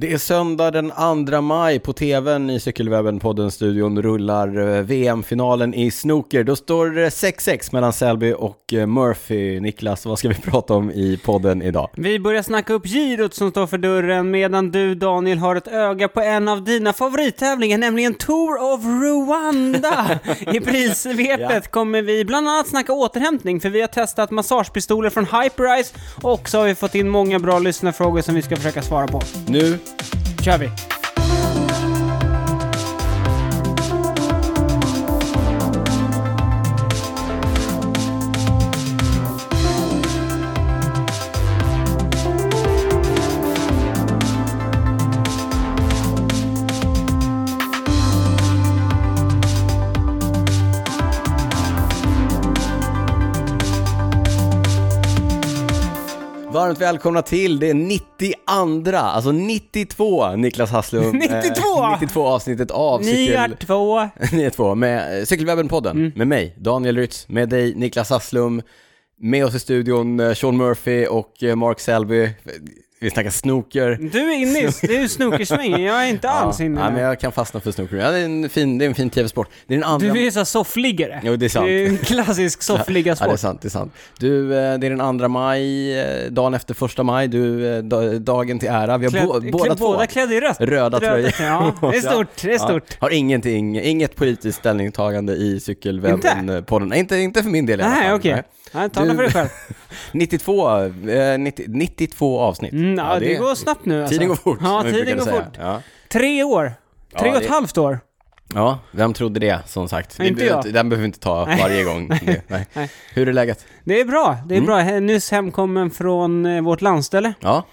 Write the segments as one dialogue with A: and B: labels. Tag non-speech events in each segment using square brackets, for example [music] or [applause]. A: Det är söndag den 2 maj på tvn i Cykelwebben-podden-studion rullar eh, VM-finalen i snooker. Då står det 6-6 mellan Selby och eh, Murphy. Niklas, vad ska vi [laughs] prata om i podden idag?
B: Vi börjar snacka upp girot som står för dörren medan du Daniel har ett öga på en av dina favorittävlingar, nämligen Tour of
A: [laughs]
B: Rwanda. I prissvepet
A: Ja.
B: kommer vi bland annat snacka återhämtning, för vi har testat massagepistoler från Hyperice och så har vi fått in många bra lyssnarfrågor som vi ska försöka svara på.
A: Nu
B: kör vi!
A: Varmt välkomna till det 92, alltså 92 Niklas
B: [laughs]
A: Hasslum.
B: 92?
A: 92 avsnittet av
B: Ni är
A: Cykel...
B: två.
A: 92 med eh, Cykelwebben-podden.
B: Mm.
A: Med mig, Daniel Rytz, med dig, Niklas Hasslum, med oss i studion eh, Sean Murphy och eh, Mark Selby. Vi snackar snooker.
B: Du är inne i du är i snookersvängen, jag är inte alls
A: ja,
B: inne
A: nej, men
B: där.
A: jag kan fastna för snooker. Ja, det, är en fin, det är en fin tv-sport. Det är den andra...
B: Du är ju såhär soffliggare.
A: Jo, det är sant.
B: Du är en klassisk
A: Ja, det är
B: soffliggarsport.
A: sant, det är sant. Du, eh, det är den andra maj, eh, dagen efter första maj, du, eh, da- dagen till ära. Vi har
B: Klädd-
A: bo,
B: klädd-
A: båda två
B: Båda klädda i rött.
A: röda tröjor.
B: Ja, det är stort. Det är stort.
A: Ja, har ingenting, inget politiskt ställningstagande i cykelwebben-podden. Nej, inte, inte för min del i alla
B: Nej,
A: fall.
B: okej.
A: Nej.
B: Nej, tala
A: Du-
B: för
A: [laughs]
B: dig själv.
A: 92, eh, 90, 92 avsnitt.
B: Mm, ja, det,
A: är-
B: går snabbt nu alltså.
A: Tiden går fort,
B: Ja,
A: som vi
B: tiden går
A: brukade
B: fort.
A: säga. Ja.
B: Tre år.
A: Ja,
B: Tre och
A: det-
B: ett halvt år.
A: ja, vem trodde det, som sagt.
B: Nej, inte
A: behöver
B: jag.
A: den behöver vi inte ta
B: Nej.
A: varje gång. Det, nej.
B: [laughs] Nej.
A: Hur är läget?
B: Det är bra. Det är
A: Mm.
B: bra. Jag är Nyss hemkommen från eh, vårt landställe.
A: Ja,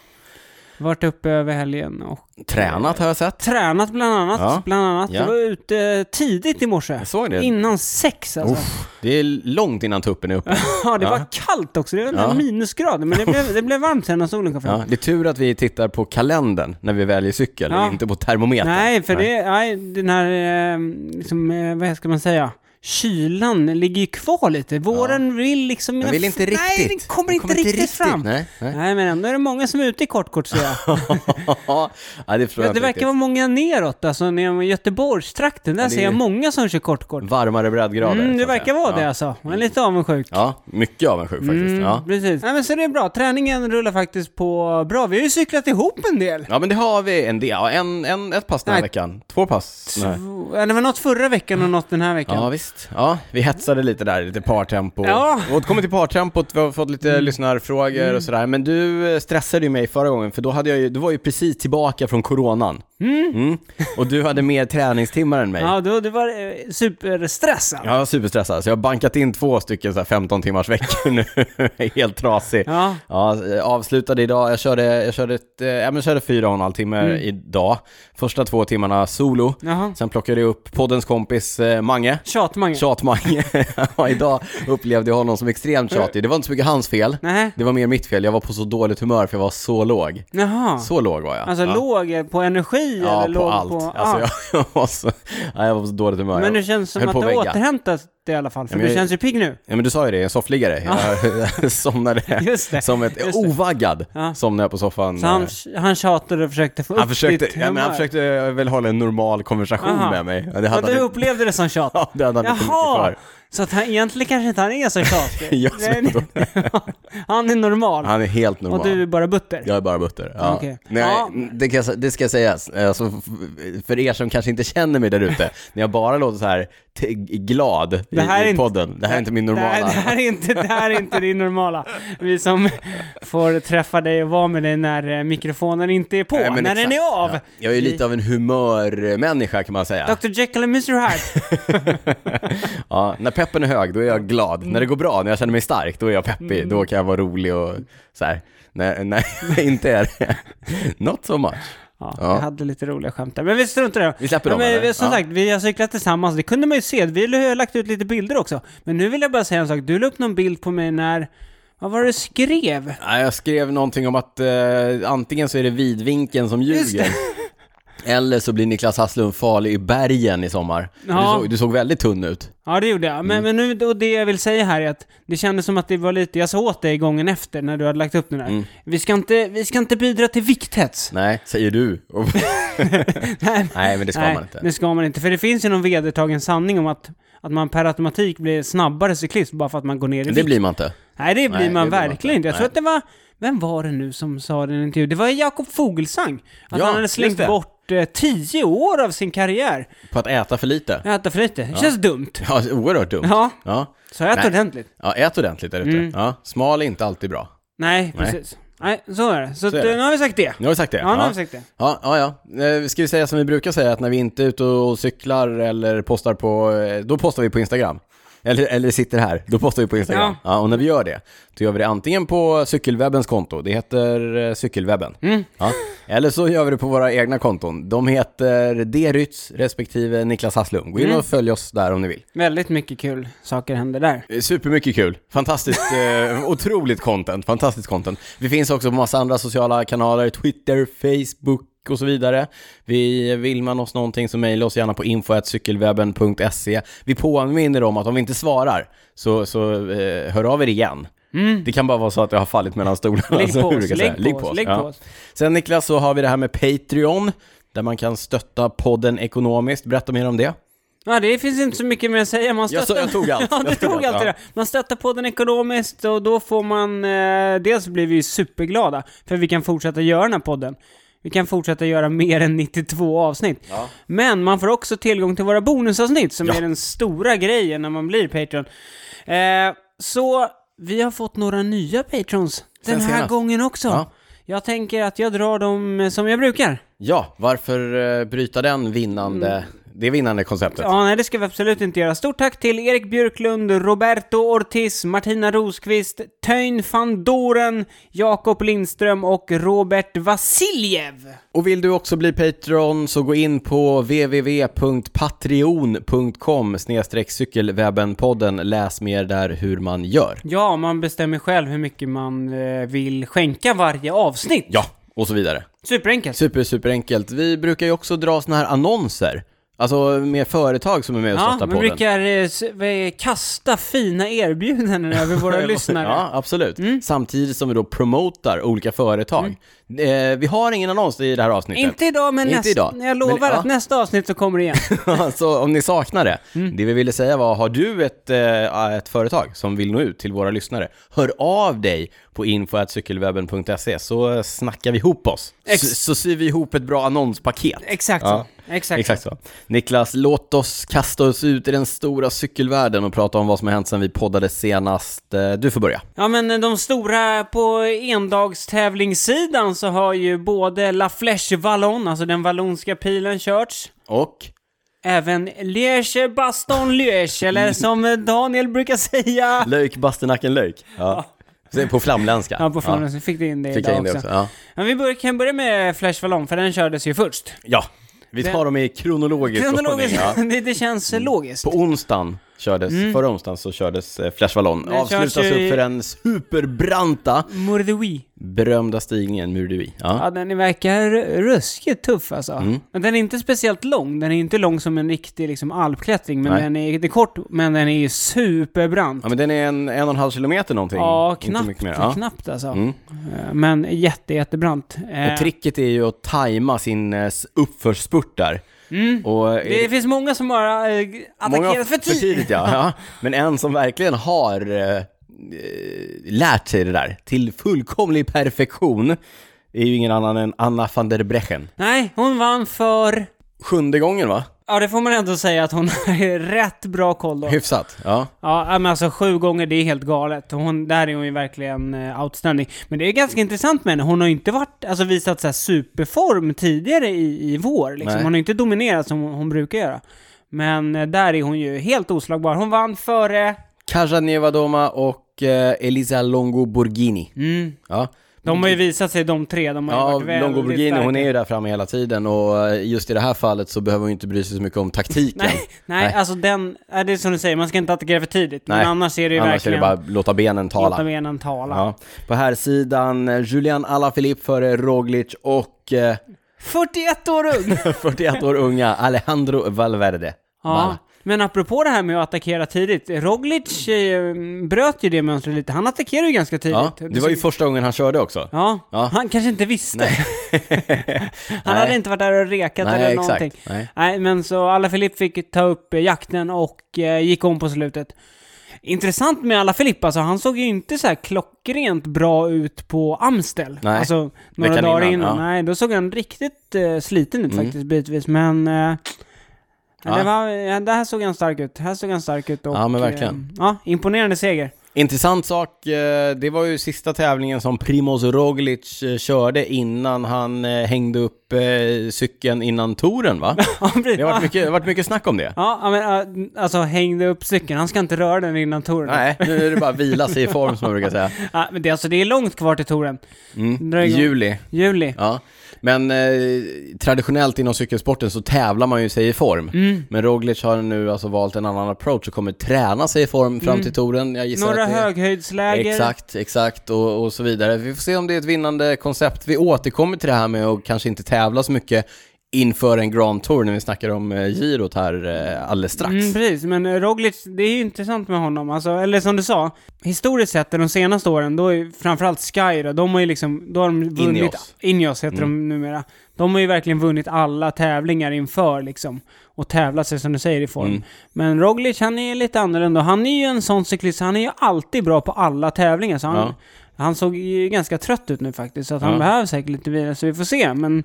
B: Varit uppe över helgen och
A: tränat har jag sett.
B: tränat bland annat.
A: Ja.
B: Bland annat.
A: Ja.
B: Jag var ute tidigt i morse.
A: Jag såg det.
B: Innan sex alltså.
A: Det är långt innan tuppen är
B: [laughs]
A: uppe.
B: Ja, det
A: Ja.
B: var kallt också. Det var
A: Ja.
B: ja. minusgrader. Men det
A: [laughs]
B: blev, det blev varmt sen när solen kom fram.
A: Ja, det är tur att vi tittar på kalendern när vi väljer cykel,
B: Ja.
A: och inte på termometern.
B: Nej,
A: [laughs]
B: för det, nej, den här, eh, liksom, eh, vad ska man säga, kylan ligger ju kvar lite. Våren vill liksom...
A: Jag vill inte riktigt.
B: Nej, den kommer, inte, riktigt fram. Nej.
A: Nej, nej.
B: men ändå är det många som är ute i
A: [laughs]
B: kortkort ser jag.
A: ja, det typ tror jag
B: det
A: inte
B: verkar
A: riktigt.
B: vara många neråt, alltså ner i Göteborgstrakten, där
A: det
B: ser
A: är-
B: jag många som kör kortkort.
A: Varmare breddgrader.
B: Mm,
A: så
B: det
A: att
B: verkar
A: säga.
B: vara det
A: ja.
B: alltså. Man är lite avundsjuk.
A: Ja, mycket avundsjuk faktiskt.
B: Mm,
A: Ja.
B: Precis. Nej, men så det är bra. Träningen rullar faktiskt på bra. Vi har ju cyklat ihop en del.
A: ja, men det har vi en del. Ja, en, en, ett pass den här
B: Nej.
A: veckan. Två pass. den här.
B: Ja, Det var något förra veckan och något den här veckan.
A: Ja, visst. Ja, vi hetsade lite där, lite partempo.
B: Ja. Mm.
A: Och återkommer till partempot, vi har fått lite lyssnarfrågor och sådär. Men du eh, stressade ju mig förra gången, för då hade jag ju, du var ju precis tillbaka från coronan. Mm. Och du hade mer träningstimmar än mig.
B: Ja, då, det var eh, superstressad.
A: Jag var superstressad, så jag har bankat in två stycken så här 15 timmars veckor nu. [laughs] Jag är Helt trasig.
B: Ja.
A: Ja, eh, avslutade idag, jag körde, jag körde, ett, eh, ja, men körde fyra och en halv timme
B: Mm.
A: idag. Första två timmarna solo.
B: Jaha.
A: Sen plockade jag upp poddens kompis eh, Mange.
B: Tjatmange.
A: Tjatmange. [laughs] ja, idag upplevde jag honom som extremt tjatig. Det var inte så mycket hans fel.
B: Nej.
A: Det var mer mitt fel. Jag var på så dåligt humör för jag var så låg.
B: Jaha.
A: Så låg var jag.
B: Alltså
A: ja.
B: låg på energi
A: Ja,
B: eller
A: på
B: låg
A: allt.
B: på...
A: Alltså,
B: Ah.
A: jag, [laughs] jag, var så, ja, jag var på så dåligt humör.
B: Men det
A: Jag
B: känns som
A: höll
B: att
A: på
B: du har
A: vägga.
B: återhämtat det i alla fall, för
A: Ja, men
B: du
A: jag-
B: känns ju pigg nu.
A: Ja men du sa ju det, jag är soffliggare. Jag [laughs] somnade
B: Just det,
A: som ett
B: just det.
A: ovaggad.
B: Ja.
A: Somnade jag på soffan. eh,
B: Så han, han tjatade och försökte få upp
A: han försökte,
B: ditt
A: ja, men han
B: humör.
A: försökte eh, väl hålla en normal konversation
B: Aha.
A: med mig. Ja, Det
B: Och
A: hade
B: du
A: han,
B: upplevde det som tjat?
A: [laughs] ja, det hade han inte mycket
B: Jaha!
A: för.
B: Så att han egentligen kanske inte han är så tjatig?
A: [laughs] Jag som är
B: [laughs] han är normal.
A: Han är helt normal.
B: och du är bara butter?
A: Jag är bara butter. Ja.
B: Okej.
A: Nej,
B: Ja.
A: det, kan, jag- det ska sägas, alltså, f- för er som kanske inte känner mig där
B: [laughs]
A: ute, när jag bara låter så här t- glad
B: Det här
A: i,
B: är
A: i
B: inte-
A: podden, det här är inte min normala.
B: Det här, det, här är inte, det här är inte din normala. Vi som får träffa dig och vara med dig när eh, mikrofonen inte är på,
A: Nej, men
B: när den
A: exakt.
B: är av.
A: Ja. Jag är ju lite av en humörmänniska kan man säga.
B: Dr Jekyll och Mr
A: [laughs]
B: Hyde.
A: Ja, när peppen är hög, då är jag glad. När det går bra, när jag känner mig stark, då är jag peppig.
B: Mm.
A: Då kan jag vara rolig och så här. När, när [laughs] jag inte är [laughs] det. Not so much.
B: Ja,
A: Ja.
B: Jag hade lite roliga skämt där, men vi struntar i det.
A: Vi släpper
B: ja,
A: dem,
B: men,
A: eller?
B: Som
A: Ja.
B: sagt, vi har cyklat tillsammans, det kunde man ju se. Vi har lagt ut lite bilder också. Men nu vill jag bara säga en sak, du la upp någon bild på mig när... Vad var det du skrev?
A: Nej, Jag skrev någonting om att eh, antingen så är det vidvinkeln som ljuger. [laughs] Eller så blir Niklas Hasslund farlig i bergen i sommar.
B: Ja.
A: Du, såg, du såg väldigt tunn ut.
B: Ja, det gjorde jag. Men,
A: Mm.
B: men nu, och det jag vill säga här är att det kändes som att det var lite, jag sa åt dig gången efter när du hade lagt upp den här.
A: Mm.
B: Vi, ska inte, vi ska inte bidra till vikthets.
A: Nej, säger du.
B: [laughs]
A: [laughs]
B: Nej,
A: Nej, men det ska
B: nej,
A: man inte.
B: Det ska man inte, för det finns ju någon vedertagen sanning om att, att man per automatik blir snabbare cyklist bara för att man går ner i
A: Men det
B: vikt.
A: blir man inte.
B: Nej,
A: Nej,
B: det blir man
A: det blir man
B: verkligen
A: inte.
B: inte. Jag tror
A: Nej.
B: att det var... Vem var det nu som sa det i en intervju? Det var Jakob Fogelsang. Att
A: Ja,
B: han hade
A: just
B: slängt
A: det.
B: bort eh, tio år av sin karriär.
A: På att äta för lite.
B: Jag äter för lite. Det känns dumt.
A: Ja, oerhört dumt.
B: Ja. Mm.
A: Ja.
B: Så jag äter
A: Nej.
B: ordentligt.
A: Ja, ät ordentligt där ute. Ja, smal är inte alltid bra.
B: Nej,
A: Nej.
B: precis. Nej, så är det. Så, att,
A: är det.
B: eh, nu har vi sagt det.
A: Nu har vi sagt det.
B: Ja, nu har vi sagt det.
A: Ja, ja, ja. Eh, Ska vi säga som vi brukar säga att när vi inte är ute och cyklar eller postar på, eh, då postar vi på Instagram. Eller, eller sitter här, då postar vi på Instagram. Ja. och när vi gör det, då gör vi det antingen på cykelwebbens konto, det heter eh, cykelwebben. Ja. Eller så gör vi det på våra egna konton. De heter Drytz respektive Niklas Hasslum. Gå in och följ oss där om ni vill.
B: Väldigt mycket kul saker händer där.
A: Eh, Supermycket kul. Fantastiskt, eh, [laughs] otroligt content. Fantastiskt content. Vi finns också på massa andra sociala kanaler, Twitter, Facebook och så vidare. Vi, vill man oss någonting så mejla oss gärna på info.cykelwebben.se. Vi påminner om att om vi inte svarar så, så eh, hör av er igen. Det kan bara vara så att det har fallit mellan stolarna.
B: Ligg
A: som
B: Mm. på
A: vi
B: oss,
A: brukar säga.
B: ligg på oss, ligg på
A: ja.
B: oss.
A: Sen Niklas så har vi det här med Patreon, där man kan stötta podden ekonomiskt. Berätta mer om det.
B: Ja, det finns inte så mycket mer att säga. Man
A: Jag
B: stöttar...
A: så- jag tog allt.
B: [laughs] ja, du
A: Jag tog
B: tog
A: allt,
B: allt det
A: ja.
B: där. Man stöttar på den ekonomiskt och då får man... Eh, dels blir vi ju superglada för vi kan fortsätta göra den här podden. Vi kan fortsätta göra mer än 92 avsnitt. Men man får också tillgång till våra bonusavsnitt som
A: Ja.
B: är den stora grejen när man blir Patreon. Eh, så vi har fått några nya Patrons
A: Sen
B: den här
A: senast.
B: gången också.
A: Ja.
B: Jag tänker att jag drar dem eh, som jag brukar.
A: Ja, varför eh, bryta den vinnande, det vinnande konceptet?
B: Mm. Ja, nej, det ska vi absolut inte göra. Stort tack till Erik Björklund, Roberto Ortiz, Martina Rosqvist, Töjn van Doren, Jakob Lindström och Robert Vasiljev.
A: Och vill du också bli Patreon så gå in på www.patreon.com cykelwebbenpodden. Läs mer där hur man gör.
B: Ja, man bestämmer själv hur mycket man eh, vill skänka varje avsnitt.
A: Ja, och så vidare.
B: Superenkelt.
A: Super, superenkelt. Vi brukar ju också dra såna här annonser. Alltså med företag som är med och
B: Ja,
A: stöttar
B: man
A: podden.
B: brukar eh, s- eh, kasta fina erbjudanden över våra lyssnare.
A: [laughs]
B: Mm.
A: Ja, absolut. Samtidigt som vi då promotar olika företag. Eh, vi har ingen annons i det här avsnittet.
B: Mm. Inte idag, men
A: Inte
B: näst,
A: idag.
B: jag lovar
A: Men, ja.
B: att nästa avsnitt så kommer
A: [laughs]
B: det igen.
A: så om ni saknar det,
B: Mm.
A: det vi ville säga var, har du ett, eh, ett företag som vill nå ut till våra lyssnare, hör av dig på info.cykelwebben.se så snackar vi ihop oss.
B: Ex-
A: så, så syr vi ihop ett bra annonspaket.
B: Exakt
A: Ja.
B: så. Exakt,
A: Exakt så. Niklas, låt oss kasta oss ut i den stora cykelvärlden och prata om vad som har hänt sedan vi poddade senast. Eh, Du får börja.
B: Ja men de stora på endagstävlingssidan så har ju både La Flèche Vallon, alltså den vallonska pilen, körts.
A: Och?
B: Även Liège Baston Liège,
A: Mm.
B: eller som Daniel brukar
A: [laughs]
B: säga.
A: Löjk, bastenacken, löjk. Ja. Så På flamländska.
B: Ja, på flammen, så fick du in det
A: Ja, Fick jag
B: idag
A: in det
B: också.
A: också. Ja.
B: Men vi bör, kan börja med Flash Vallon, för den kördes ju först.
A: ja, vi tar dem i kronologisk
B: Kronologiskt,
A: ordning. Ja.
B: [laughs]
A: Mm.
B: det, det känns logiskt.
A: På onsdagen kördes, förra onsdagen så kördes eh, Flash Vallon.
B: Den
A: Avslutas
B: Mm. körs ju i-
A: upp för den superbranta,
B: Mordewi.
A: berömda stigningen Murdevi. Ja.
B: Ja, den verkar ruskigt tuff alltså.
A: Mm.
B: Men den är inte speciellt lång. Den är inte lång som en riktig liksom, alpklättring, men
A: Nej.
B: den är, det är kort, men den är ju superbrant.
A: ja, men den är en, en och en halv kilometer någonting.
B: Ja,
A: Inte
B: knappt,
A: mycket mer. Ja. Mm.
B: knappt alltså. Eh, Men jätte, jättebrant. Eh,
A: Och tricket är ju att tajma sin eh, s- uppförsspurt där. Och eh,
B: Mm. Det finns många som har eh, attackerat
A: många-
B: för tidigt.
A: ja. ja. Men en som verkligen har eh, eh, lärt sig det där till fullkomlig perfektion är ju ingen annan än Anna van der Brechen.
B: Nej, hon vann för...
A: Sjunde gången va?
B: Ja, det får man ändå säga att hon [laughs] har rätt bra koll då.
A: Hyfsat. Ja.
B: Ja, men alltså sju gånger, det är helt galet. Hon, där är hon ju verkligen eh, outstanding. Men det är ganska intressant med henne. Hon har ju inte varit, alltså, visat så här superform tidigare i, i vår. Liksom.
A: Nej.
B: Hon har ju inte dominerat som hon, hon brukar göra. Men eh, där är hon ju helt oslagbar. Hon vann före...
A: Kaja Nevadoma och eh, Elisa Longo Borghini.
B: Mm,
A: Ja,
B: De har ju visat sig de tre, de har ju
A: Mm. ja
B: varit väldigt
A: Longo Borghini
B: starka.
A: hon är ju där framme hela tiden och eh, just i det här fallet så behöver hon ju inte bry sig så mycket om taktiken.
B: Nej, nej,
A: Nej.
B: alltså den, är det är som du säger, man ska inte attackera för tidigt.
A: Nej,
B: Men annars är det ju
A: Annars
B: verkligen...
A: är det bara låta benen tala.
B: Låta benen tala.
A: Ja. På här sidan eh, [laughs] Julian Alaphilippe före Roglic och eh,
B: 41 år ung!
A: 41 år unga Alejandro Valverde.
B: Ja.
A: Val-
B: Men apropå det här med att attackera tidigt. Roglic eh, bröt ju det mönstret lite. Han attackerade ju ganska
A: Ja,
B: tidigt.
A: det var ju första gången han körde också.
B: Ja,
A: Ja.
B: han kanske inte visste. [laughs] han
A: Nej.
B: hade inte varit där och rekat
A: Nej,
B: eller
A: exakt.
B: någonting.
A: Nej.
B: men så alla Filip fick ta upp eh, jakten och eh, gick om på slutet. Intressant med alla Filip, alltså han såg ju inte så här klockrent bra ut på Amstel.
A: Nej.
B: Alltså några
A: Veckan
B: dagar innan.
A: innan, ja. Mm.
B: Nej, då såg han riktigt eh, sliten ut faktiskt bitvis, men... Eh,
A: Ja.
B: Det, var, ja, det här såg han stark ut. Här såg han stark ut och,
A: Ja, men verkligen.
B: eh, Ja, imponerande seger. [laughs]
A: Intressant sak, eh, det var ju sista tävlingen som Primoz Roglic eh, körde innan han eh, hängde upp eh, cykeln innan touren va?
B: Ja, precis.
A: Det har varit mycket, det har varit mycket snack om det.
B: Ja, ja, men äh, alltså hängde upp cykeln. Han ska inte röra den innan touren.
A: Nej, nu är det bara vila sig i form som man brukar säga.
B: Ja, men det, alltså, det är långt kvar till touren.
A: Mm.
B: Dra
A: I
B: igång.
A: juli.
B: Juli.
A: Ja. Men eh, traditionellt inom cykelsporten så tävlar man ju sig i form.
B: Mm.
A: Men Roglic har nu alltså valt en annan approach och kommer träna sig i form fram till touren. Jag gissar
B: Mm. Några
A: att det...
B: höghöjdsläger.
A: Exakt, exakt och, och så vidare. Vi får se om det är ett vinnande koncept. Vi återkommer till det här med att kanske inte tävla så mycket inför en Grand Tour när vi snackar om eh, girot här eh, alldeles strax.
B: Mm, precis, men eh, Roglic, det är ju intressant med honom. Alltså, eller som du sa, historiskt sett de senaste åren, då är framförallt Sky då, de har ju liksom, då har de vunnit...
A: Ineos. Mm.
B: Ineos heter de numera. De har ju verkligen vunnit alla tävlingar inför liksom. Och tävlat sig som du säger i form.
A: Mm.
B: Men Roglic, han är lite annorlunda. Han är ju en sån cyklist, han är ju alltid bra på alla tävlingar. Så han,
A: Ja.
B: han såg ju ganska trött ut nu faktiskt, så att han
A: Ja.
B: behöver säkert lite vila, så vi får se. Men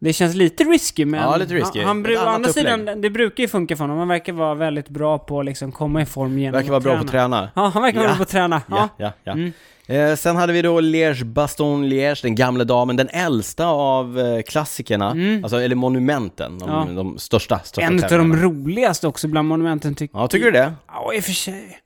B: det känns lite risky, men...
A: Ja, lite risky.
B: Han, han, bru-
A: Ett
B: å
A: annat
B: andra sidan,
A: upplägg.
B: det brukar ju funka för honom. Han verkar vara väldigt bra på att liksom komma i form genom
A: Verkar vara bra på att träna.
B: Ja, han verkar vara
A: Ja.
B: bra på att träna. Ja. Mm.
A: Ja, ja, ja. Eh, sen hade vi då Liège Baston Liège, den gamla damen, den äldsta av eh, klassikerna, alltså, eller monumenten, de,
B: Mm. Ja.
A: de största. största
B: En av de
A: tävlingarna.
B: roligaste också bland monumenten tycker
A: Ja, tycker du det?
B: Ja, i och för sig.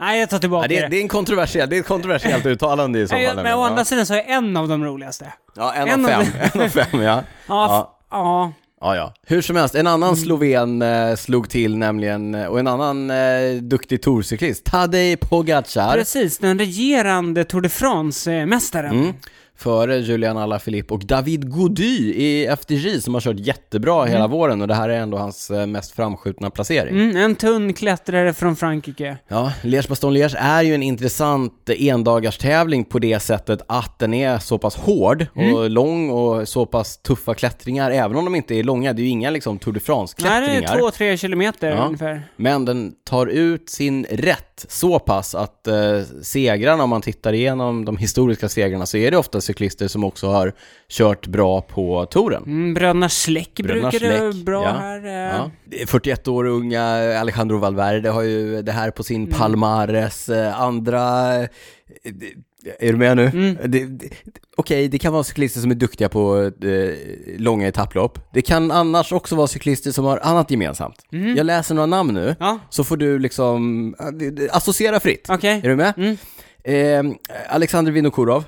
B: Nej, jag tar tillbaka
A: Ja, det,
B: det.
A: är- det är en kontroversiell, det är ett kontroversiellt uttalande i så fall.
B: Nej, men
A: nämligen.
B: å
A: Ja.
B: andra sidan så är en av de roligaste.
A: Ja, en,
B: en
A: av
B: av
A: fem. [laughs] en av fem, ja.
B: Ja, f- ja.
A: Ja, ja. Hur som helst, en
B: Mm.
A: annan sloven eh, slog till nämligen, eh, och en annan eh, duktig tourcyklist, Tadej Pogacar,
B: precis. Den regerande Tour de France-mästaren.
A: Mm. före Julian Alaphilippe och David Gody i FDJ som har kört jättebra hela våren och det här är ändå hans eh, mest framskjutna placering.
B: Mm, en tunn klättrare från Frankrike.
A: Ja, Liège Baston Liège är ju en intressant endagarstävling på det sättet att den är så pass hård och
B: Mm.
A: lång och så pass tuffa klättringar, även om de inte är långa. Det är ju inga liksom Tour de France-klättringar.
B: Nej, det är två, tre kilometer
A: Ja.
B: ungefär.
A: Men den tar ut sin rätt så pass att eh, segrarna, om man tittar igenom de historiska segrarna, så är det ofta cyklister som också har kört bra på touren.
B: Mm, Bröderna Schleck
A: Bröderna
B: brukar det vara
A: Schleck,
B: bra
A: ja.
B: här. eh.
A: Ja. 41 år unga Alejandro Valverde har ju det här på sin
B: Mm.
A: Palmares, eh, andra... eh, Är du med nu?
B: Mm.
A: Det- det- Okej, det kan vara cyklister som är duktiga på eh, långa etapplopp. Det kan annars också vara cyklister som har annat gemensamt. Jag läser några namn nu,
B: Mm. Ja.
A: så får du liksom eh, associera fritt.
B: Okej.
A: Är du med?
B: Mm.
A: Eh, Alexander Vinokurov.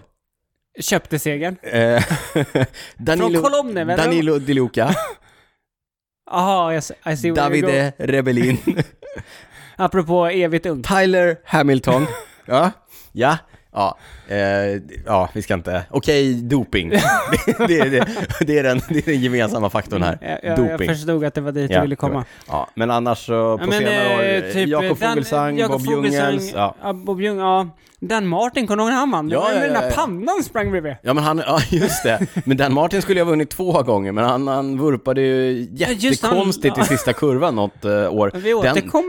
B: Köpte segern.
A: Eh, [laughs] Danilo,
B: Från Kolomne, väl?
A: Danilo Di Luca.
B: Jaha, I s- I see where you go.
A: Davide
B: [laughs]
A: Rebellin.
B: Apropå evigt ung.
A: Tyler Hamilton. ja. Ja. Ja. Eh, ja, vi ska inte... Okej,
B: [laughs]
A: doping. det, det, det, det, är den, det är den gemensamma faktorn här.
B: Mm, Jag, jag, jag
A: doping.
B: förstod att det var dit du ville komma.
A: Ja, men annars så på
B: Ja, men,
A: senare år,
B: eh, typ,
A: Jakob
B: Dan-
A: Fuglesang,
B: Jakob
A: Bob Ljungels. Ja.
B: Ja. Bob Ljung, ja. Dan Martin, kommer du ihåg när han vann?
A: Ja,
B: Ja,
A: ja,
B: med den
A: ja,
B: där
A: ja.
B: pannan sprang bredvid.
A: ja, men han, ja just det. Men Dan Martin skulle ju ha vunnit två gånger, men han, han vurpade ju
B: just han-
A: jättekonstigt i sista kurvan något eh, år.
B: Vi återkommer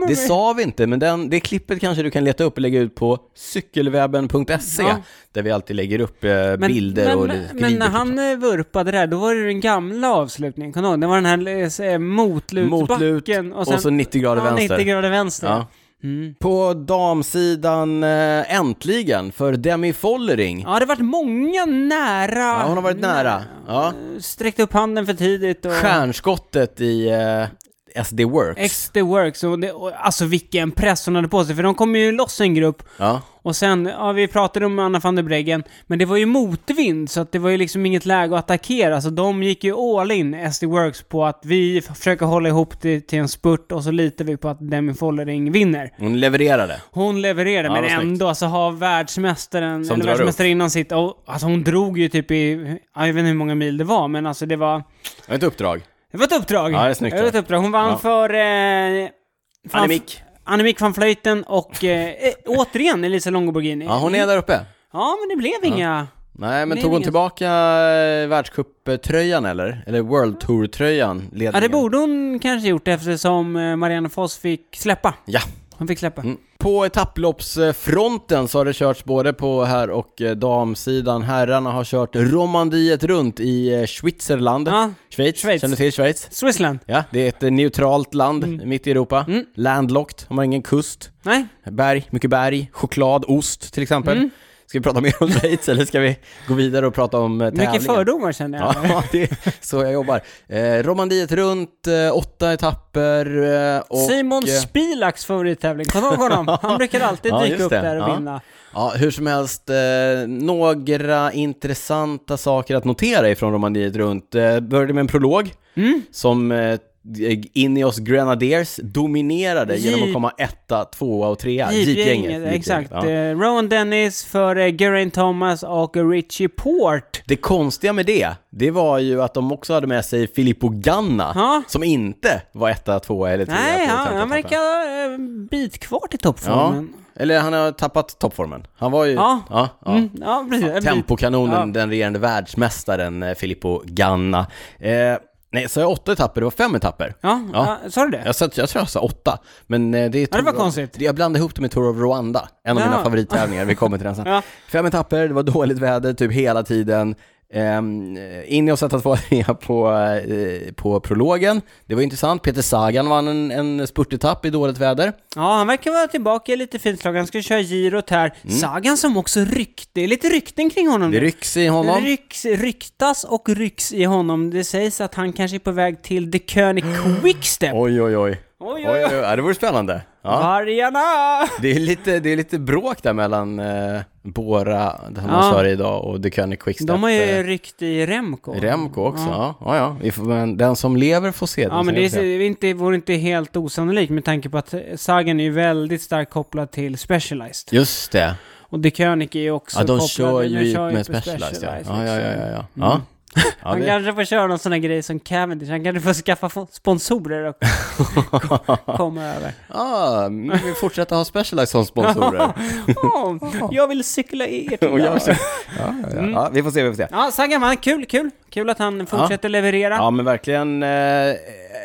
A: den, det
B: med-
A: sa vi inte, men den, det klippet kanske du kan leta upp och lägga ut på cykelwebben.se,
B: Ja.
A: där vi alltid lägger upp eh, bilder
B: men,
A: och
B: men,
A: lite
B: men när
A: videoklipp.
B: han eh, vurpade där, då var det den gamla avslutningen, kommer du ihåg? Det var den här eh,
A: Motlut
B: motlutsbacken
A: och, så 90 grader
B: ja,
A: vänster.
B: 90 grader vänster.
A: Ja.
B: Mm.
A: På damsidan eh, äntligen för Demi Follering.
B: Ja, det har varit många nära...
A: Ja, hon har varit nära. Ja.
B: Sträckt upp handen för tidigt och...
A: Stjärnskottet i eh, SD Works.
B: XD Works, och det, och, alltså vilken press hon hade på sig, för de kom ju loss en grupp
A: ja.
B: Och sen, ja vi pratade om Anna van der Breggen, men det var ju motvind så att det var ju liksom inget läge att attackera. Så de gick ju all in, SD Works, på att vi f- försöker hålla ihop det till en spurt och så litar vi på att Demi Follering vinner.
A: Hon levererade.
B: Hon levererade,
A: Ja,
B: men
A: vad snyggt.
B: ändå alltså har världsmästaren,
A: Som
B: eller
A: drar upp.
B: världsmästarinnan sitt, och, alltså hon drog ju typ i, jag vet inte hur många mil det var, men alltså det var,
A: Det var ett uppdrag.
B: det var ett uppdrag.
A: Ja, det är snyggt,
B: det var ett
A: ja.
B: uppdrag. Hon vann
A: Ja.
B: för... Eh, fan-
A: Annemiek.
B: Annemiek van Vleuten och eh, eh, återigen Elisa Longo Borghini.
A: Ja, hon är där uppe.
B: Ja, men det blev inga...
A: Nej, men
B: Nej,
A: tog
B: det är
A: hon
B: ingen-
A: tillbaka eh, världscuptröjan eller? Eller World Tour-tröjan? Ledningen?
B: Ja, det borde hon kanske gjort eftersom eh, Marianne Foss fick släppa.
A: Ja.
B: Hon fick släppa.
A: Mm. På etapploppsfronten så har det körts både på herr och eh, damsidan. Herrarna har kört Romandiet runt i eh, Schweizerland.
B: Ja,
A: Schweiz.
B: Schweiz.
A: Känner du till Schweiz?
B: Switzerland.
A: Ja, det är ett eh, neutralt land mitt i Europa.
B: Mm.
A: Landlocked, de har ingen kust.
B: Nej,
A: Berg, mycket berg, choklad, ost till exempel.
B: Mm.
A: Ska vi prata mer om Schweiz eller ska vi gå vidare och prata om eh, tävlingen?
B: mycket fördomar känner jag.
A: Ja, [laughs] det är så jag jobbar. Eh, Romandiet runt, eh, åtta etapper eh, och...
B: Simon
A: eh,
B: Spilaks favorittävling. Kom ihåg
A: [laughs]
B: honom. Han brukar alltid
A: Ja,
B: dyka
A: just
B: upp
A: det.
B: där och
A: Ja.
B: vinna.
A: Ja, hur som helst, eh, några intressanta saker att notera ifrån Romandiet runt. Eh, började med en prolog
B: Mm.
A: som eh, Ineos Grenadiers dominerade
B: J-
A: genom att komma etta, tvåa och trea.
B: Jeepgänget, exakt.
A: ja.
B: Eh, Rowan Dennis för eh, Geraint Thomas och Richie Port.
A: Det konstiga med det, det var ju att de också hade med sig Filippo Ganna,
B: Ja.
A: som inte var etta, tvåa eller trea.
B: Nej,
A: på
B: han, han
A: etapperna.
B: verkar eh, ha en bit kvar till toppformen.
A: Ja, eller han har tappat toppformen. Han var ju...
B: Ja.
A: ja, ja.
B: Mm, ja, precis. En bit.
A: Tempokanonen,
B: Ja.
A: den regerande världsmästaren eh, Filippo Ganna. Eh, nej, sa jag åtta etapper? Det var fem etapper.
B: Ja, ja.
A: Ja.
B: sa du det?
A: Jag, sa, jag tror jag sa åtta, men eh, det är
B: Ja, det var
A: Tour of-
B: konstigt.
A: Jag blandade ihop det med Tour of Rwanda, en av
B: Ja.
A: mina favorittävlingar. Vi kommer till den sen.
B: [laughs] Ja.
A: Fem etapper, det var dåligt väder typ hela tiden. Um, in och sätta två trea på, eh, på prologen. Det var intressant. Peter Sagan vann en, en spurtetapp i dåligt väder.
B: Ja, han verkar vara tillbaka i lite fint slag. Han ska köra girot här. Sagan som också rykte, det är lite rykten kring honom
A: Mm. Det
B: nu.
A: rycks i honom.
B: Rycks, ryktas och rycks i honom. Det sägs att han kanske är på väg till
A: [gasps]
B: The König Quickstep.
A: Oj, oj, oj.
B: Oj, oj,
A: oj,
B: oj.
A: oj. Ja, det vore spännande. Ja.
B: Vargarna!
A: Det är lite, det är lite bråk där mellan eh, Bora, det här
B: Ja.
A: man sa idag, och The König Quickstep.
B: De har
A: eh,
B: ju ryckt i Remco.
A: Remco också, ja. Ja, ja. Vi får, men den som lever får se. den
B: Ja,
A: som
B: men det
A: lever får
B: är,
A: se.
B: det är inte, vore inte helt osannolikt med tanke på att eh, Sagan är ju väldigt starkt kopplad till Specialized.
A: Just det.
B: Och De König är ju också
A: Ja, de
B: kopplad,
A: kör
B: men de
A: ju
B: kör
A: med
B: på
A: Specialized. Ja, ja,
B: liksom.
A: ja. ja, ja, ja.
B: [laughs]
A: ja. ja
B: han
A: det...
B: kanske får köra någon sån här grej som Cavendish, han kanske får skaffa fo- sponsorer
A: [laughs]
B: och komma över.
A: ah, nu vill vi fortsätta ha Specialized som
B: [laughs]
A: sponsorer.
B: Åh, jag vill cykla i ert
A: Och jag-
B: lag.
A: [laughs] ja, ja, ja.
B: Mm.
A: ja, vi får se, vi får se.
B: Ja, Sagan vann, kul, kul. Kul att han fortsätter leverera.
A: Ja men verkligen, eh,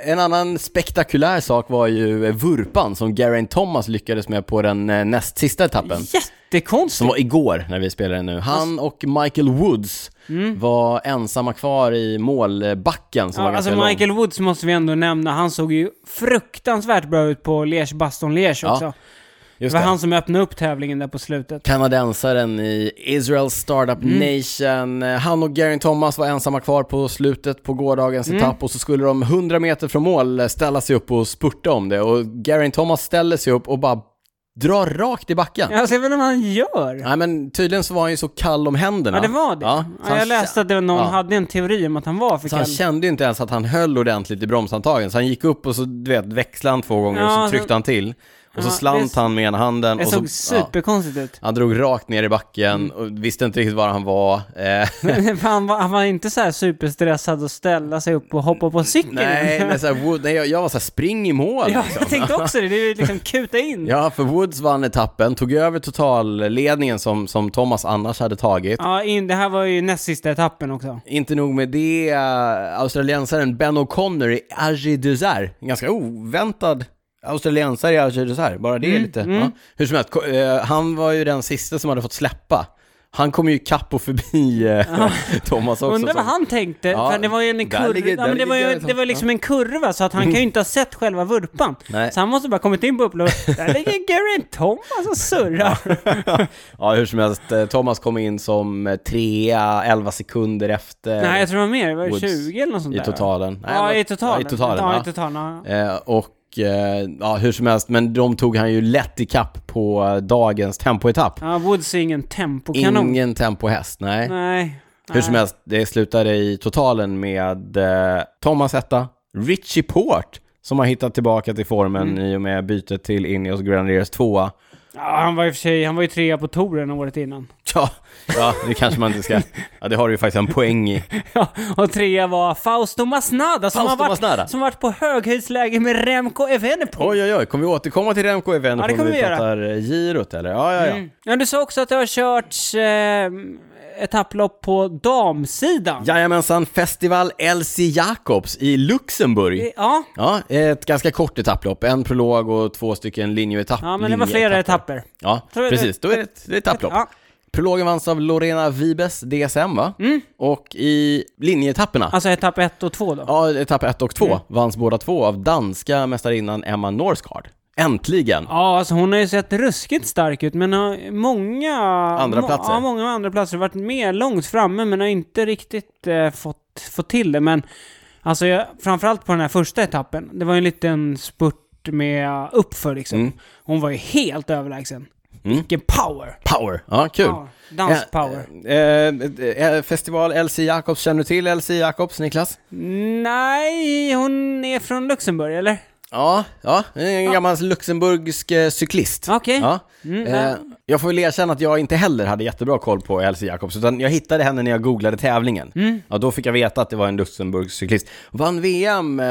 A: en annan spektakulär sak var ju eh, vurpan som Geraint Thomas lyckades med på den eh, näst sista etappen.
B: Jättekonstigt.
A: Som var igår när vi spelade nu.
B: Alltså-
A: Han och Michael Woods var ensamma kvar i målbacken som var
B: Mm. Ja,
A: ganska
B: alltså
A: lång.
B: Michael Woods måste vi ändå nämna, han såg ju fruktansvärt bra ut på Liège, Baston Liège
A: Ja,
B: också. det
A: Just
B: var
A: det.
B: han som öppnade upp tävlingen där på slutet.
A: Kanadensaren i Israel Startup
B: Mm.
A: Nation. Han och Geraint Thomas var ensamma kvar på slutet på gårdagens
B: Mm.
A: etapp och så skulle de 100 meter från mål eh, ställa sig upp och spurta om det. Och Geraint Thomas ställer sig upp och bara drar rakt i backen.
B: Jag ser väl vad han gör.
A: Nej men tydligen så var han ju så kall om händerna.
B: Ja, det var det.
A: Ja,
B: Ja,
A: så han
B: jag läste att det var någon
A: Ja.
B: hade en teori om att han var för
A: Så han
B: kall.
A: kände ju inte ens att han höll ordentligt i bromshandtagen, så han gick upp och så du vet, växlade han två gånger
B: Ja,
A: och så tryckte han till. Och så
B: ja,
A: slant
B: det-
A: han med ena handen
B: Det
A: och så...
B: såg Mm. superkonstigt ut.
A: [laughs] Ja, han drog rakt ner i backen och visste inte riktigt var han var.
B: [laughs]
A: Eh,
B: För han, var, han var inte så här superstressad att ställa sig upp och hoppa på
A: [laughs]
B: cykeln.
A: nej, men så här, Wood, nej, jag, jag var så här, spring i mål.
B: [laughs] ja,
A: liksom.
B: jag tänkte också det. Det är
A: [laughs]
B: ju liksom kuta in. Ja,
A: Ja, för Woods vann etappen, tog över totalledningen som, som Thomas annars hade tagit.
B: in, det här var ju näst sista etappen också.
A: Inte nog med det, eh, australiensaren Ben O'Connor i Agi Désert. En ganska oväntad australiensare i Agi Désert, bara det är
B: Mm,
A: lite. Ja. Hur som helst, ko- eh, han var ju den sista som hade fått släppa. Han kom ju kapp och förbi eh, [laughs] Thomas också.
B: Undrar vad
A: så-
B: han tänkte,
A: Ja,
B: för det var ju en
A: där
B: kurva,
A: ligger-
B: ja,
A: där
B: men det,
A: ligger
B: var ju,
A: Garrett
B: det var liksom en kurva så att han kan ju inte ha sett själva vurpan.
A: Nej.
B: Så han måste bara kommit in på
A: [laughs]
B: upploppet, där ligger Geraint Thomas och surrar.
A: Ja, hur som helst, eh, Thomas kom in som eh, trea, 11 sekunder efter.
B: Nej, jag tror det var mer, det var
A: Woods
B: 20 eller något sånt
A: i
B: där. va?
A: totalen. Nej, det
B: ja,
A: var-
B: i totalen.
A: Ja, i totalen.
B: Ja,
A: Ja,
B: i totalen. ja.
A: Eh, och eh, ja, hur som helst, men de tog han ju lätt i kapp på eh, dagens tempoetapp.
B: Ja, Woods är ingen tempokanon.
A: Ingen tempohäst, nej.
B: Nej.
A: Hur som helst, det slutade i totalen med eh, Thomas etta, Richie Port, som har hittat tillbaka till formen
B: Mm.
A: i och med bytet till Ineos Grenadiers tvåa.
B: Ja, han var i och för sig, han var ju trea på touren året innan. [laughs]
A: Ja, ja, det kanske man inte ska... Ja, det har du ju faktiskt en poäng i.
B: Ja, och trea var Fausto Masnada som
A: Fausto
B: har varit,
A: Masnada.
B: Som varit på höghöjdsläge med Remco Evenepoel.
A: Oj, oj, oj. Kommer vi återkomma till Remco Event
B: Ja, det
A: om
B: kommer
A: vi
B: vi göra.
A: pratar eh, girot, eller? Ja, ja, ja.
B: Mm. Ja, du sa också att det har körts eh, etapplopp på damsidan.
A: Jajamensan, Festival Elsie Jacobs i Luxemburg.
B: Ja,
A: Ja, ett ganska kort etapplopp. En prolog och två stycken linjeetapp.
B: ja men det var flera
A: linjeetapper.
B: etapper.
A: Ja,
B: Så är det-
A: precis. Då är det ett, det är ett etapplopp.
B: Ja.
A: Prologen vanns av Lorena Vibes, DSM va? Och i linjeetapperna,
B: Alltså etapp ett och två då.
A: ja, etapp 1 och 2, vanns båda två av danska mästarinnan Emma Norsgaard. Äntligen!
B: Ja, alltså hon har ju sett ruskigt stark ut, men har många...
A: Andra
B: må-
A: platser.
B: Ja, många andra platser. Varit med långt framme, men har inte riktigt eh, fått, fått till det. Men alltså, jag, framförallt på den här första etappen, det var ju en liten spurt med uppför liksom.
A: Mm.
B: Hon var ju helt överlägsen. Vilken power!
A: Power! Ja, kul!
B: Ja, danspower.
A: Eh, eh, eh, festival Elsie Jacobs, känner du till Elsie Jacobs, Niklas?
B: Nej, hon är från Luxemburg, eller?
A: Ja, ja, en gammal luxemburgsk eh, cyklist.
B: Okej.
A: Ja.
B: Mm,
A: eh,
B: ja.
A: jag får väl erkänna att jag inte heller hade jättebra koll på Elsie Jacobs, utan jag hittade henne när jag googlade tävlingen.
B: Mm.
A: Ja, då fick jag veta att det var en Luxemburgs cyklist. Vann VM, eh,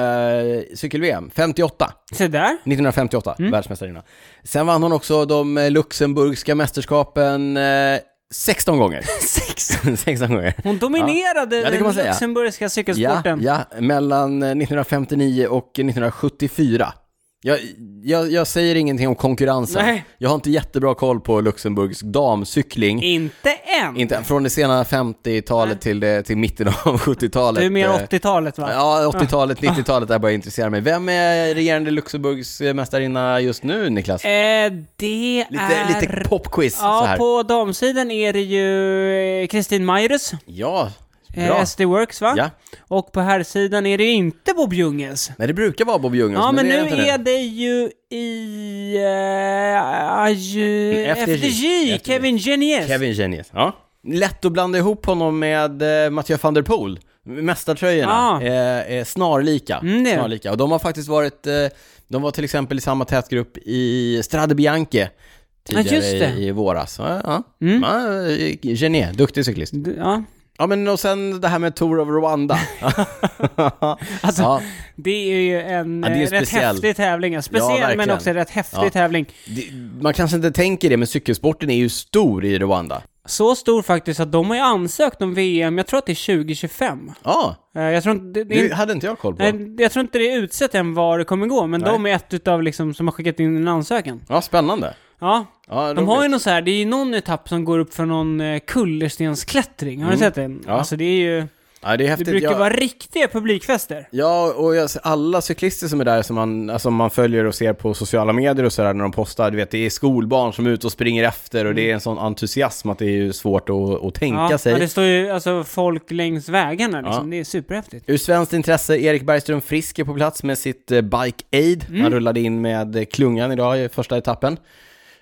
A: cykel-VM, 58. [laughs]
B: Se där.
A: 1958,
B: Mm.
A: världsmästarinna. Sen vann hon också de eh, Luxemburgska mästerskapen eh, 16
B: [laughs]
A: gånger. 16 gånger.
B: Hon dominerade
A: Ja, det kan man
B: den
A: säga.
B: luxemburgska
A: Ja,
B: cykelsporten.
A: ja, mellan eh, 1959 och 1974. Jag, jag, jag säger ingenting om konkurrensen.
B: Nej.
A: Jag har inte jättebra koll på Luxemburgs damcykling.
B: Inte än.
A: Inte, från det sena 50-talet till, det, till mitten av [laughs] 70-talet.
B: Du är mer
A: Eh,
B: 80-talet, va?
A: Ja, 80-talet, 90-talet där började jag intressera mig. Vem är regerande Luxemburgs eh, mästarinna just nu, Niklas?
B: Eh, det
A: Lite,
B: är...
A: lite popquiz så
B: Ja,
A: här.
B: på damsidan är det ju eh, Kristin Majerus,
A: Ja, bra.
B: eh, SD Works va?
A: Ja.
B: Och på här sidan är det ju inte Bob Ljunges.
A: Nej, det brukar vara Bob Ljungens,
B: Ja, men
A: det
B: nu
A: inte
B: är det ju i... Eh, aju,
A: FDJ.
B: FDJ, Kevin Genies.
A: Kevin Genius. Ja. Lätt att blanda ihop honom med eh, Mathieu van der Poel. Mästartröjorna
B: Ah.
A: eh, är snarlika.
B: Mm, det är det.
A: snarlika. Och de har faktiskt varit, eh, de var till exempel i samma tätgrupp i Strade Bianche tidigare
B: just det. Mm.
A: i, i våras. Ja, ja. Ja, eh, Genier, duktig cyklist.
B: D- Ja.
A: Ja men och sen det här med Tour of
B: [laughs]
A: Rwanda. alltså, ja,
B: Det är ju en
A: Ja, det är
B: eh, rätt
A: speciell.
B: häftig tävling. ja. Speciell, men
A: verkligen.
B: också rätt häftig
A: Ja.
B: tävling.
A: det, man kanske inte tänker det, men cykelsporten är ju stor i Rwanda.
B: Så stor faktiskt att de har ju ansökt om VM, jag tror att det är 2025.
A: Ja,
B: Eh, jag tror inte... Det, det är
A: det hade inte jag koll på.
B: Nej, jag tror inte det är utsett än var det kommer gå, men de är ett utav liksom som har skickat in en ansökan.
A: Ja, spännande.
B: Ja.
A: Ja,
B: De har ju
A: roligt.
B: någon så här, det är ju någon etapp som går upp för någon eh, kullerstensklättring, har du sett den?
A: Mm. Ja.
B: Alltså det är ju,
A: ja, det är
B: det
A: häftigt.
B: brukar
A: Jag-
B: vara riktiga publikfester.
A: Ja, och jag, alla cyklister som är där som man, alltså man följer och ser på sociala medier och sådär när de postar, du vet det är skolbarn som är ute och springer efter och det är en sån entusiasm att det är ju svårt att, att tänka
B: Mm. Ja,
A: sig.
B: ja, det står ju alltså folk längs vägarna liksom,
A: Ja.
B: det är superhäftigt.
A: Ur svenskt intresse, Erik Bergström Frisk är på plats med sitt eh, Bike Aid.
B: Mm.
A: Han rullade in med eh, klungan idag i första etappen.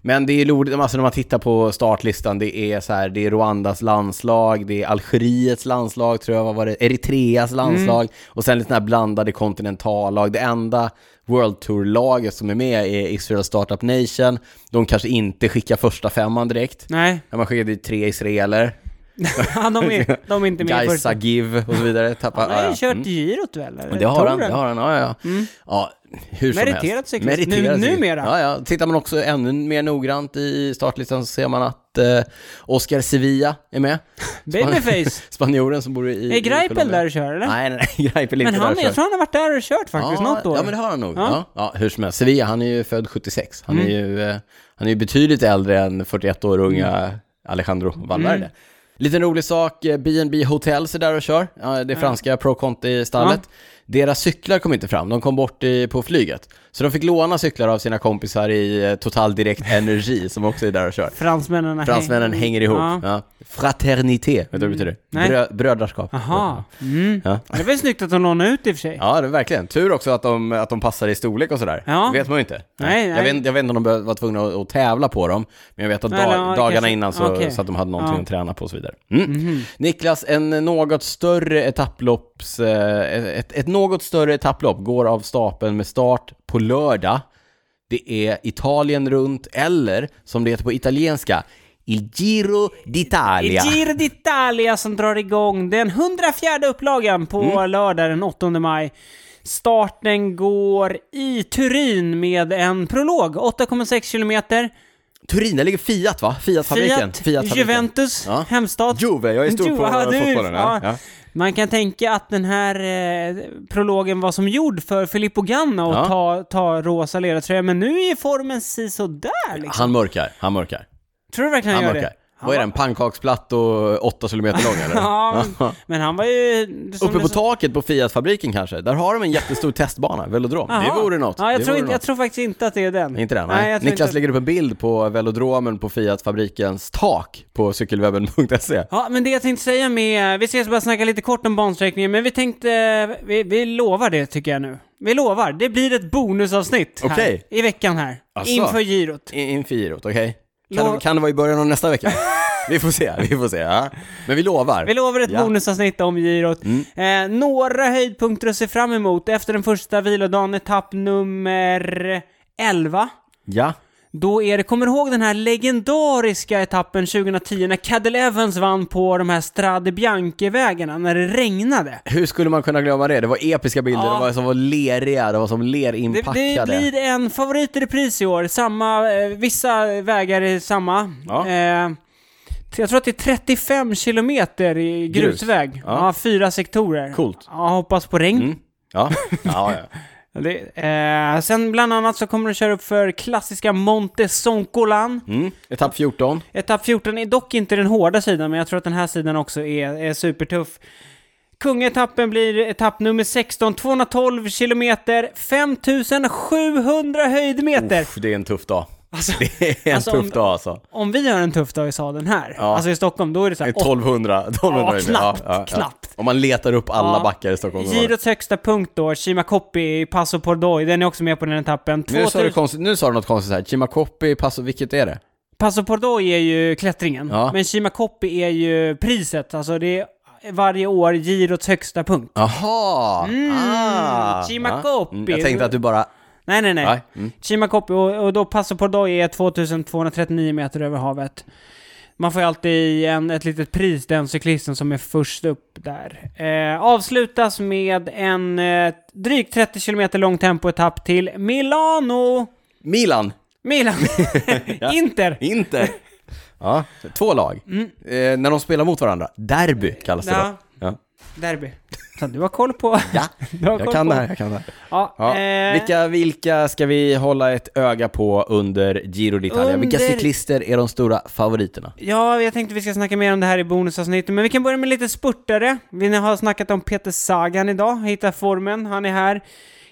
A: Men det är roligt, alltså när man tittar på startlistan, det är så här, det är Rwandas landslag, det är Algeriets landslag tror jag, vad var det, Eritreas
B: Mm.
A: landslag och sen lite sådana här blandade kontinentallag. Det enda World Tour-laget som är med är Israel Startup Nation. De kanske inte skickar första femman direkt.
B: Nej, [laughs]
A: Ja, Man skickar dit tre israeler,
B: ja, de, är,
A: [laughs]
B: de är inte med i
A: Gaisa
B: första.
A: Give och så vidare. Tappar,
B: Han har
A: ja,
B: ju
A: ja.
B: kört girot väl? Eller?
A: Men det har han,
B: Touren?
A: det har han, ja, ja. ja hur som
B: Meriterad
A: helst.
B: cyklist. Mm. Nu-
A: cyklist.
B: numera.
A: Ja, ja. Tittar man också ännu mer noggrant i startlistan så ser man att eh, Oscar Sevilla är med.
B: Babyface!
A: [laughs] Spanjoren som bor i...
B: Är
A: i
B: Greipel
A: Colombia.
B: där och kör eller?
A: Nej, nej, nej, [laughs] Greipel är
B: men
A: inte
B: han,
A: där.
B: är- jag tror han har varit där och kört faktiskt,
A: ja,
B: något år.
A: Ja, men det har han nog. Ja.
B: Ja.
A: Ja. hur som helst. Sevilla, han är ju född 76. Han är ju eh, han är ju betydligt äldre än 41 år unga Alejandro Valverde. Liten rolig sak, eh, B&B Hotels är där och kör, Ja, det franska Pro Conti-stallet. Deras cyklar kom inte fram, de kom bort i, på flyget. Så de fick låna cyklar av sina kompisar i eh, Total [laughs] Direkt Energi som också är där och kör.
B: Fransmännen... har-
A: Fransmännen hänger ihop.
B: Ja.
A: Ja. Mm. Fraternité, vet du vad det betyder?
B: Nej.
A: Brö, brödraskap.
B: Aha. Mm.
A: Ja.
B: Det var ju snyggt att de lånade ut i och för sig.
A: Ja, det är verkligen. Tur också att de, att de passar i storlek och sådär.
B: Ja.
A: Det vet man ju inte.
B: Nej, nej.
A: Jag, vet, jag vet inte om de bör- var tvungna att, att tävla på dem, men jag vet att
B: Eller,
A: dag,
B: ja,
A: dagarna
B: kanske.
A: innan så,
B: Okej.
A: så att de hade någonting
B: Ja. Mhm.
A: att träna på och så vidare. Mm. Niklas, en något större etapplopps, eh, ett, ett något större etapplopp går av stapeln med start på lördag. Det är Italien runt, eller som det heter på italienska, Il Giro d'Italia.
B: I Giro d'Italia som drar igång den 104 upplagan på
A: Mm.
B: lördag den 8 maj. Starten går i Turin med en prolog, 8,6 kilometer.
A: Turin, där ligger Fiat va? Fiat-fabriken.
B: Fiat,
A: Fiat-fabriken.
B: Juventus,
A: Ja.
B: hemstad.
A: Juve, jag är stor på
B: ja, du-
A: fotbollen. Ja.
B: ja.
A: Ja.
B: Man kan tänka att den här eh, prologen var som gjord för Filippo Ganna att
A: Ja.
B: ta, ta rosa ledartröja, men nu är formen sisådär liksom.
A: Han mörkar, han mörkar.
B: Tror du verkligen han
A: Han
B: gör
A: mörkar.
B: det?
A: Vad är den? Pannkaksplatt och 8 kilometer lång eller?
B: [laughs] Ja, men, men han var ju... som liksom-
A: Uppe
B: du
A: på
B: sa-
A: taket på Fiat-fabriken kanske? Där har de en
B: [laughs]
A: jättestor testbana, velodrom. Det
B: Jaha.
A: vore något.
B: Ja, jag,
A: det
B: tror
A: vore
B: inte, jag
A: något.
B: tror faktiskt inte att det är den.
A: Inte det?
B: Nej,
A: Nej.
B: jag tror
A: Niklas
B: inte-
A: lägger upp en bild på velodromen på Fiat-fabrikens tak på cykelwebben.se.
B: Ja, men det jag tänkte säga med... Vi ska bara snacka lite kort om bansträckningen, men vi tänkte... Vi, vi lovar det tycker jag nu. Vi lovar. Det blir ett bonusavsnitt här
A: Okej.
B: i veckan här.
A: Asså.
B: Inför girot.
A: I- Inför girot, okej? Kan,
B: Lo-
A: det- kan det vara i början av nästa
B: [laughs]
A: vecka? vi får se, vi får se. Ja. Men vi lovar.
B: Vi lovar ett
A: Ja. Mm.
B: bonusavsnitt om girot. Eh, några höjdpunkter att se fram emot efter den första vilodagen, etapp nummer 11.
A: Ja.
B: Då är det, kommer du ihåg den här legendariska etappen 2010 när Cadel Evans vann på de här Strade Bianche-vägarna när det regnade?
A: Hur skulle man kunna glömma det? Det var episka bilder,
B: Ja.
A: de var som var leriga, de var som
B: Det,
A: lerinpackade.
B: det blir en favorit i repris i år, samma, eh, vissa vägar är samma.
A: Ja.
B: Eh, jag tror att det är 35 kilometer i
A: Grus.
B: grusväg. Ja.
A: Ja.
B: fyra sektorer.
A: Coolt. Mm.
B: Ja, hoppas på regn.
A: Ja, ja, ja.
B: Det, eh, sen bland annat så kommer du köra upp för klassiska Monte Soncolan.
A: Mm. Etapp 14.
B: Etapp 14 är dock inte den hårda sidan, men jag tror att den här sidan också är, är supertuff. Kungetappen blir etapp nummer 16, 212 kilometer, 5700 höjdmeter.
A: Uff, det är en tuff dag. [laughs] det är en
B: alltså,
A: tuff
B: om-
A: dag alltså.
B: Om vi har en tuff dag i sadeln här,
A: Ja.
B: alltså i Stockholm, då är det så
A: Det är
B: här
A: 1200. 1200
B: Ja, knappt, knappt.
A: Om man letar upp alla
B: Ja.
A: backar i Stockholm.
B: Girots högsta punkt då, Chimacopi, Passo Pordoi, den är också med på den etappen.
A: nu, sa du
B: 2000
A: konstigt, nu sa du något konstigt här. Chimacopi, Passo, vilket är det?
B: Passo Pordoi är ju klättringen,
A: Ja.
B: men Chimacopi är ju priset, alltså det är varje år Girots högsta punkt.
A: Jaha!
B: Mm,
A: ah.
B: Chimacopi.
A: Ja. Mm, Jag tänkte att du bara...
B: Nej, nej, nej.
A: Nej. Mm.
B: Chimacopi och, och då Passo Pordoi är 2239 meter över havet. Man får ju alltid en, ett litet pris, den cyklisten som är först upp där. Eh, avslutas med en eh, drygt 30 kilometer lång tempoetapp till Milano!
A: Milan!
B: Milan!
A: [laughs]
B: Inter! [laughs]
A: Inte! ja, två lag. Eh, när de spelar mot varandra. Derby kallas det
B: Mm. Ja.
A: då. Ja.
B: Derby. Så du har koll på...
A: Ja,
B: [laughs] du har
A: Jag
B: koll
A: kan
B: på.
A: det här, jag kan det här.
B: Ja,
A: Ja.
B: eh,
A: Vilka, vilka ska vi hålla ett öga på under Giro d'Italia? Vilka
B: Under-
A: cyklister är de stora favoriterna?
B: Ja, jag tänkte vi ska snacka mer om det här i bonusavsnittet, men vi kan börja med lite spurtare. Vi har snackat om Peter Sagan idag, hitta formen, han är här.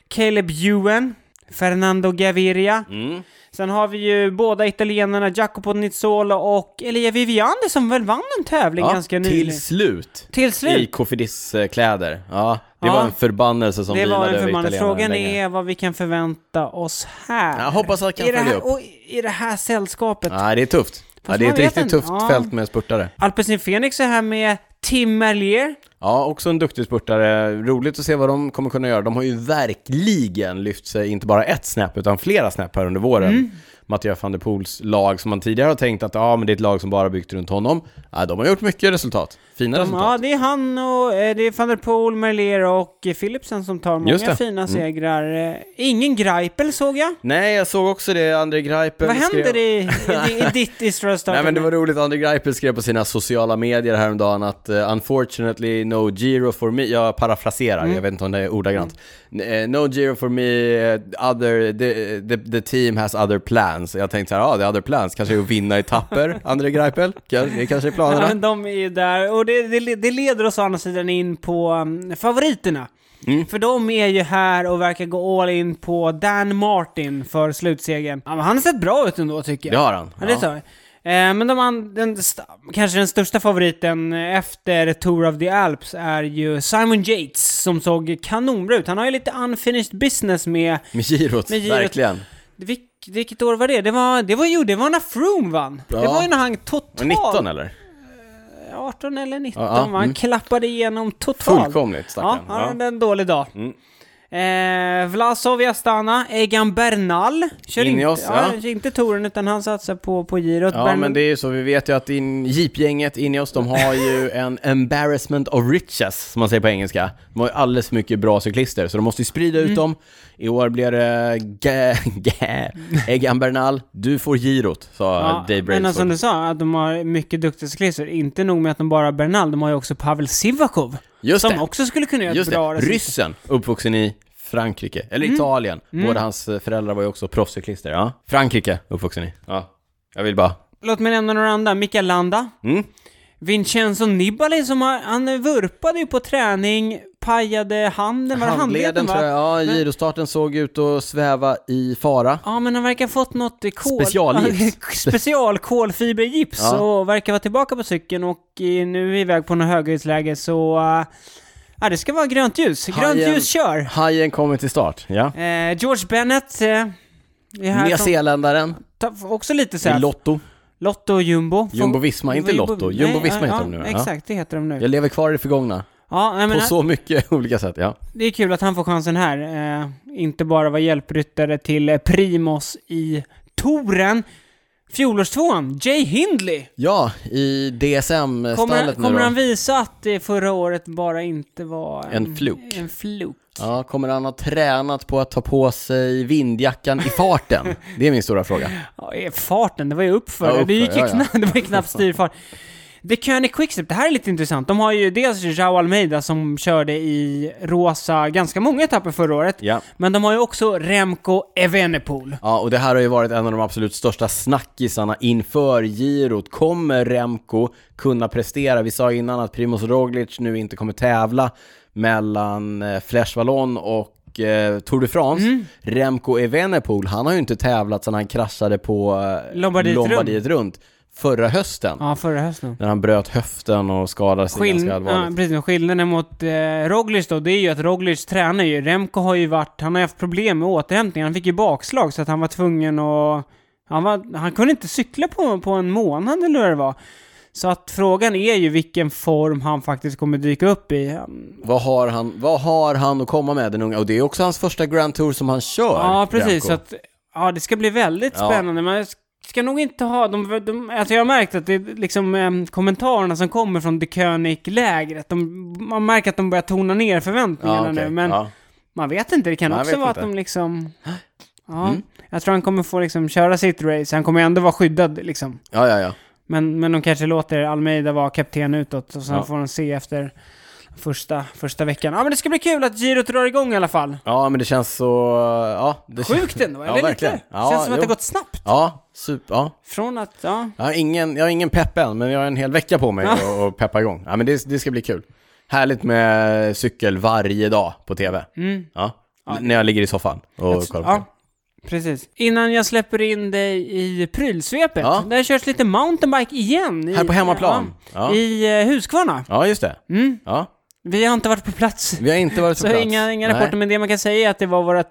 B: Caleb Ewan, Fernando Gaviria.
A: Mm.
B: Sen har vi ju båda italienarna Jacopo Nizzolo och Elia Viviani som väl vann en tävling ganska nyligen.
A: till slut!
B: Till
A: I
B: slut!
A: Cofidis-kläder. Ja, det
B: Ja.
A: var en förbannelse som
B: Det var
A: vilade
B: en
A: över
B: förbannelse.
A: italienarna
B: Frågan
A: länge.
B: är vad vi kan förvänta oss här.
A: Jag hoppas att jag
B: I det
A: kan följa
B: här,
A: upp.
B: och I det här sällskapet.
A: Nej, det är tufft. Ja, det är
B: man
A: ett
B: vet
A: riktigt
B: inte.
A: tufft
B: Ja.
A: fält med spurtare.
B: Alpecin Phoenix är här med Tim Merlier.
A: Ja, också en duktig spurtare. Roligt att se vad de kommer kunna göra. De har ju verkligen lyft sig, inte bara ett snäpp, utan flera snäpp här under våren. Mattias van der Poels lag, som man tidigare har tänkt att ja, men det är ett lag som bara byggt runt honom. Ja, de har gjort mycket resultat. Fina
B: Ja,
A: resultat.
B: det är han och eh, det är van der Poel, Merlier och eh, Philipsen som tar många
A: Just det. Mm.
B: fina segrar. Eh, Ingen Greipel såg jag.
A: Nej, jag såg också det. André Greipel
B: Vad
A: skrev-
B: händer i, i,
A: [laughs]
B: i ditt Israel
A: Nej men det var
B: Starter?
A: roligt, André Greipel skrev på sina sociala medier häromdagen att eh, “Unfortunately no Giro for me”, jag parafraserar,
B: Mm.
A: jag vet inte om det är ordagrant. Eh, “No Giro for me, eh, other, the, eh, the, the team has other plans”. Jag tänkte så här, ja ah, the other plans kanske är att vinna
B: [laughs]
A: etapper, André Greipel, Kans- det kanske är
B: Ja, men
A: planerna.
B: de är ju där och det, det, det leder oss å andra sidan in på um, mm, favoriterna.
A: Mm.
B: För de är ju här och verkar gå all in på Dan Martin för slutsegern. Ja, men han har sett bra ut ändå tycker jag.
A: Det har han.
B: Ja, det
A: Ja.
B: sa jag. Eh, men de an- den, st- kanske den största favoriten efter Tour of the Alps är ju Simon Yates som såg kanonbra ut. Han har ju lite unfinished business med...
A: Med girot,
B: Med girot.
A: verkligen.
B: Vilk, vilket år var det? Det var, det var ju det var när Froome vann.
A: Ja.
B: Det var ju när han
A: Var
B: totalt...
A: 19 eller?
B: 18 eller 19
A: Ja, ja,
B: va? Han
A: mm.
B: klappade igenom totalt.
A: Fullkomligt
B: Ja,
A: stackarn.
B: han hade en dålig dag.
A: Mm.
B: Eh, Vlasov i Astana, Egan Bernal. Kör
A: In i
B: inte,
A: oss, ja.
B: kör inte touren utan han satsar på, på girot.
A: Ja,
B: Bern-
A: men det är ju så, vi vet ju att in, Jeep-gänget inne i oss, de har ju en embarrassment of riches, som man säger på engelska. De har ju alldeles för mycket bra cyklister, så de måste ju sprida
B: Mm.
A: ut dem. I år blir det Ga- Ga- Egan Bernal, du får girot, sa Dave
B: men alltså,
A: Brailsford.
B: som du sa, att de har mycket duktiga cyklister. Inte nog med att de bara har Bernal, de har ju också Pavel Sivakov.
A: Just
B: som
A: det.
B: också skulle kunna göra
A: Just
B: ett bra
A: det,
B: resultat.
A: ryssen,
B: Mm.
A: uppvuxen i Frankrike, eller Italien. Båda hans eh, föräldrar var ju också proffscyklister. Ja. Frankrike, uppvuxen i. Ja. Jag vill bara...
B: Låt mig nämna några andra. Mikael Landa.
A: Mm.
B: Vincenzo Nibali som har, han vurpade ju på träning, pajade handen, var det handleden va?
A: tror jag. Ja, girostarten såg ut att sväva i fara.
B: Ja, men han verkar ha fått något eh, kol... [laughs]
A: Specialgips.
B: Special kolfibergips
A: Ja.
B: och verkar vara tillbaka på cykeln och eh, nu är iväg på något höghöjdsläge så... eh, Ja, det ska vara grönt ljus. Grönt
A: Hajen-
B: ljus kör!
A: Hajen kommer till start. Ja.
B: Eh, George Bennett eh, är här
A: Nya
B: från-
A: Zeeländaren,
B: ta, också lite
A: till
B: såhär...
A: Lotto.
B: Lotto och Jumbo. Får-
A: Jumbo Visma, inte
B: Jumbo-
A: Lotto. Jumbo
B: Nej,
A: Visma
B: ja,
A: heter de nu.
B: ja,
A: Ja.
B: Exakt, det heter de nu.
A: Jag lever kvar i det förgångna.
B: Ja, jag
A: På
B: menar,
A: så mycket [laughs] olika sätt, ja.
B: Det är kul att han får chansen här. Eh, inte bara vara hjälpryttare till eh, Primos i touren. Fjolårstvåan, Jay Hindley.
A: Ja, i DSM-stallet
B: Kommer,
A: nu
B: kommer
A: då.
B: han visa att det förra året bara inte var
A: En fluk.
B: En fluk.
A: Ja, kommer han ha tränat på att ta på sig vindjackan i
B: [laughs]
A: farten? Det är min stora fråga.
B: Ja, eh, farten, det var ju uppför.
A: Ja,
B: det
A: uppför,
B: gick ju
A: ja, ja.
B: knappt, [laughs] det var
A: [laughs]
B: ju knappt styrfart. The König Quickstep, det här är lite intressant. De har ju dels Jao Almeida som körde i rosa ganska många etapper förra året.
A: Ja.
B: Men de har ju också Remco Evenepoel.
A: Ja, och det här har ju varit en av de absolut största snackisarna inför girot. Kommer Remco kunna prestera? Vi sa innan att Primoz Roglic nu inte kommer tävla mellan eh, Flesh Wallon och eh, Tour de France.
B: Mm.
A: Remco Evenepoel, han har ju inte tävlat sedan han kraschade på eh,
B: Lombardiet runt.
A: Lombardiet runt förra hösten.
B: Ja, förra hösten.
A: När han bröt höften och skadade sig
B: Skill-
A: ganska allvarligt.
B: ja, precis, skillnaden mot eh, Roglic då, det är ju att Roglic tränar ju. Remco har ju varit, han har haft problem med återhämtningen. Han fick ju bakslag så att han var tvungen att... Han, var, han kunde inte cykla på, på en månad eller vad det var. Så att frågan är ju vilken form han faktiskt kommer dyka upp i. Han-
A: Vad har, han, vad har han att komma med den unga? Och det är också hans första Grand Tour som han kör.
B: Ja, precis.
A: Remco.
B: Så att, ja, det ska bli väldigt
A: Ja.
B: spännande. Man ska nog inte ha... De, de, alltså jag har märkt att det är liksom eh, kommentarerna som kommer från The König-lägret, de- man märker att de börjar tona ner förväntningarna
A: Ja, okej.
B: nu. Men
A: Ja.
B: man vet inte, det kan
A: Man
B: också
A: vet
B: vara
A: inte. Mm.
B: att
A: [gasps]
B: de liksom... Ja, jag tror han kommer få liksom köra sitt race, han kommer ändå vara skyddad liksom.
A: ja, ja, ja.
B: Men, men de kanske låter Almeida vara kapten utåt och sen
A: Ja.
B: får de se efter första, första veckan. Ja men det ska bli kul att girot drar igång i alla fall.
A: Ja, men det känns så... Ja, det [laughs]
B: Sjukt ändå,
A: Ja,
B: eller lite?
A: verkligen.
B: Det
A: Ja,
B: känns som att det
A: jo.
B: har gått snabbt.
A: Ja, super. Ja.
B: Från att, ja.
A: Jag, har ingen, jag har ingen pepp än, men jag har en hel vecka på mig att att peppa igång. Ja, men det, det ska bli kul. Härligt med cykel varje dag på tv. Ja. När jag ligger i soffan och kollar på
B: Mm. ja. Precis. Innan jag släpper in dig i prylsvepet.
A: Ja.
B: Där körs lite mountainbike igen. I,
A: Här på hemmaplan.
B: Ja,
A: Ja.
B: I eh, Huskvarna.
A: Ja, just det. Ja.
B: Vi har inte varit på plats.
A: Vi har inte varit på
B: Mm. Så
A: plats.
B: inga, inga
A: Nej.
B: rapporter, men det man kan säga är att det var våra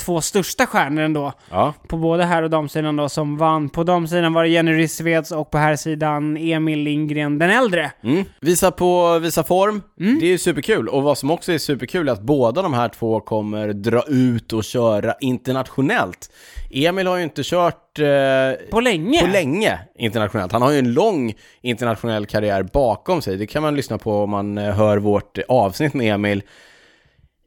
B: två största stjärnor ändå.
A: Ja.
B: På både här och damsidan då, som vann. På damsidan var det Jenny Rissveds och på herrsidan Emil Lindgren den äldre.
A: Mm. Visa på, visa form.
B: Mm.
A: Det är ju superkul. Och vad som också är superkul är att båda de här två kommer dra ut och köra internationellt. Emil har ju inte kört eh,
B: På länge!
A: på länge internationellt. Han har ju en lång internationell karriär bakom sig. Det kan man lyssna på om man eh, hör vårt eh, avsnitt med Emil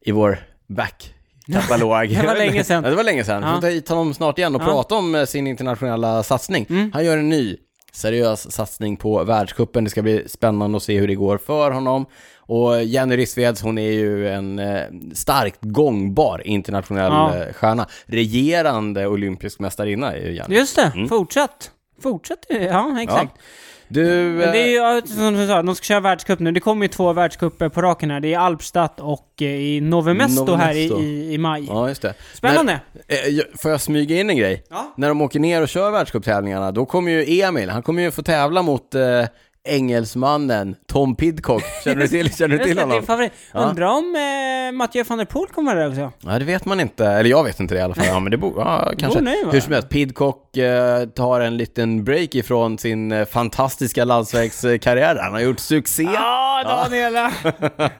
A: i vår back. Katalog.
B: [laughs] Det var länge
A: [laughs]
B: sedan.
A: Ja, det var länge sedan. Vi får ta hit honom snart igen och prata om eh, sin internationella satsning.
B: Mm.
A: Han gör en ny seriös satsning på världscupen. Det ska bli spännande att se hur det går för honom. Och eh, Jenny Rissveds, hon är ju en eh, starkt gångbar internationell
B: Ja.
A: eh, stjärna. Regerande olympisk mästarinna är ju Jenny.
B: Just det, fortsatt. Fortsatt, ja exakt.
A: Du...
B: Men det är
A: eh,
B: ju, ja, som du sa, de ska köra världscup nu. Det kommer ju två världscuper på raken här. Det är i Alpstadt och eh, i Novemesto
A: Novemesto.
B: här i, i, i maj.
A: Ja, just det.
B: Spännande.
A: När, eh, jag- får jag smyga in en grej?
B: Ja.
A: När de åker ner och kör världscuptävlingarna, då kommer ju Emil, han kommer ju få tävla mot eh, engelsmannen Tom
B: [laughs]
A: Pidcock. Känner du till, känner du
B: Just
A: till
B: det,
A: honom?
B: din favorit.
A: Ja.
B: Undrar om eh, Mathieu van der Poel kommer vara där också?
A: Ja, det vet man inte. Eller jag vet inte det i alla
B: [laughs]
A: fall. Ja, men det borde... Ja, kanske.
B: borde ju vara.
A: Hur som helst, Pidcock eh, tar en liten break ifrån sin eh, fantastiska landsvägskarriär. Han har gjort succé.
B: Ja, Daniela! [laughs]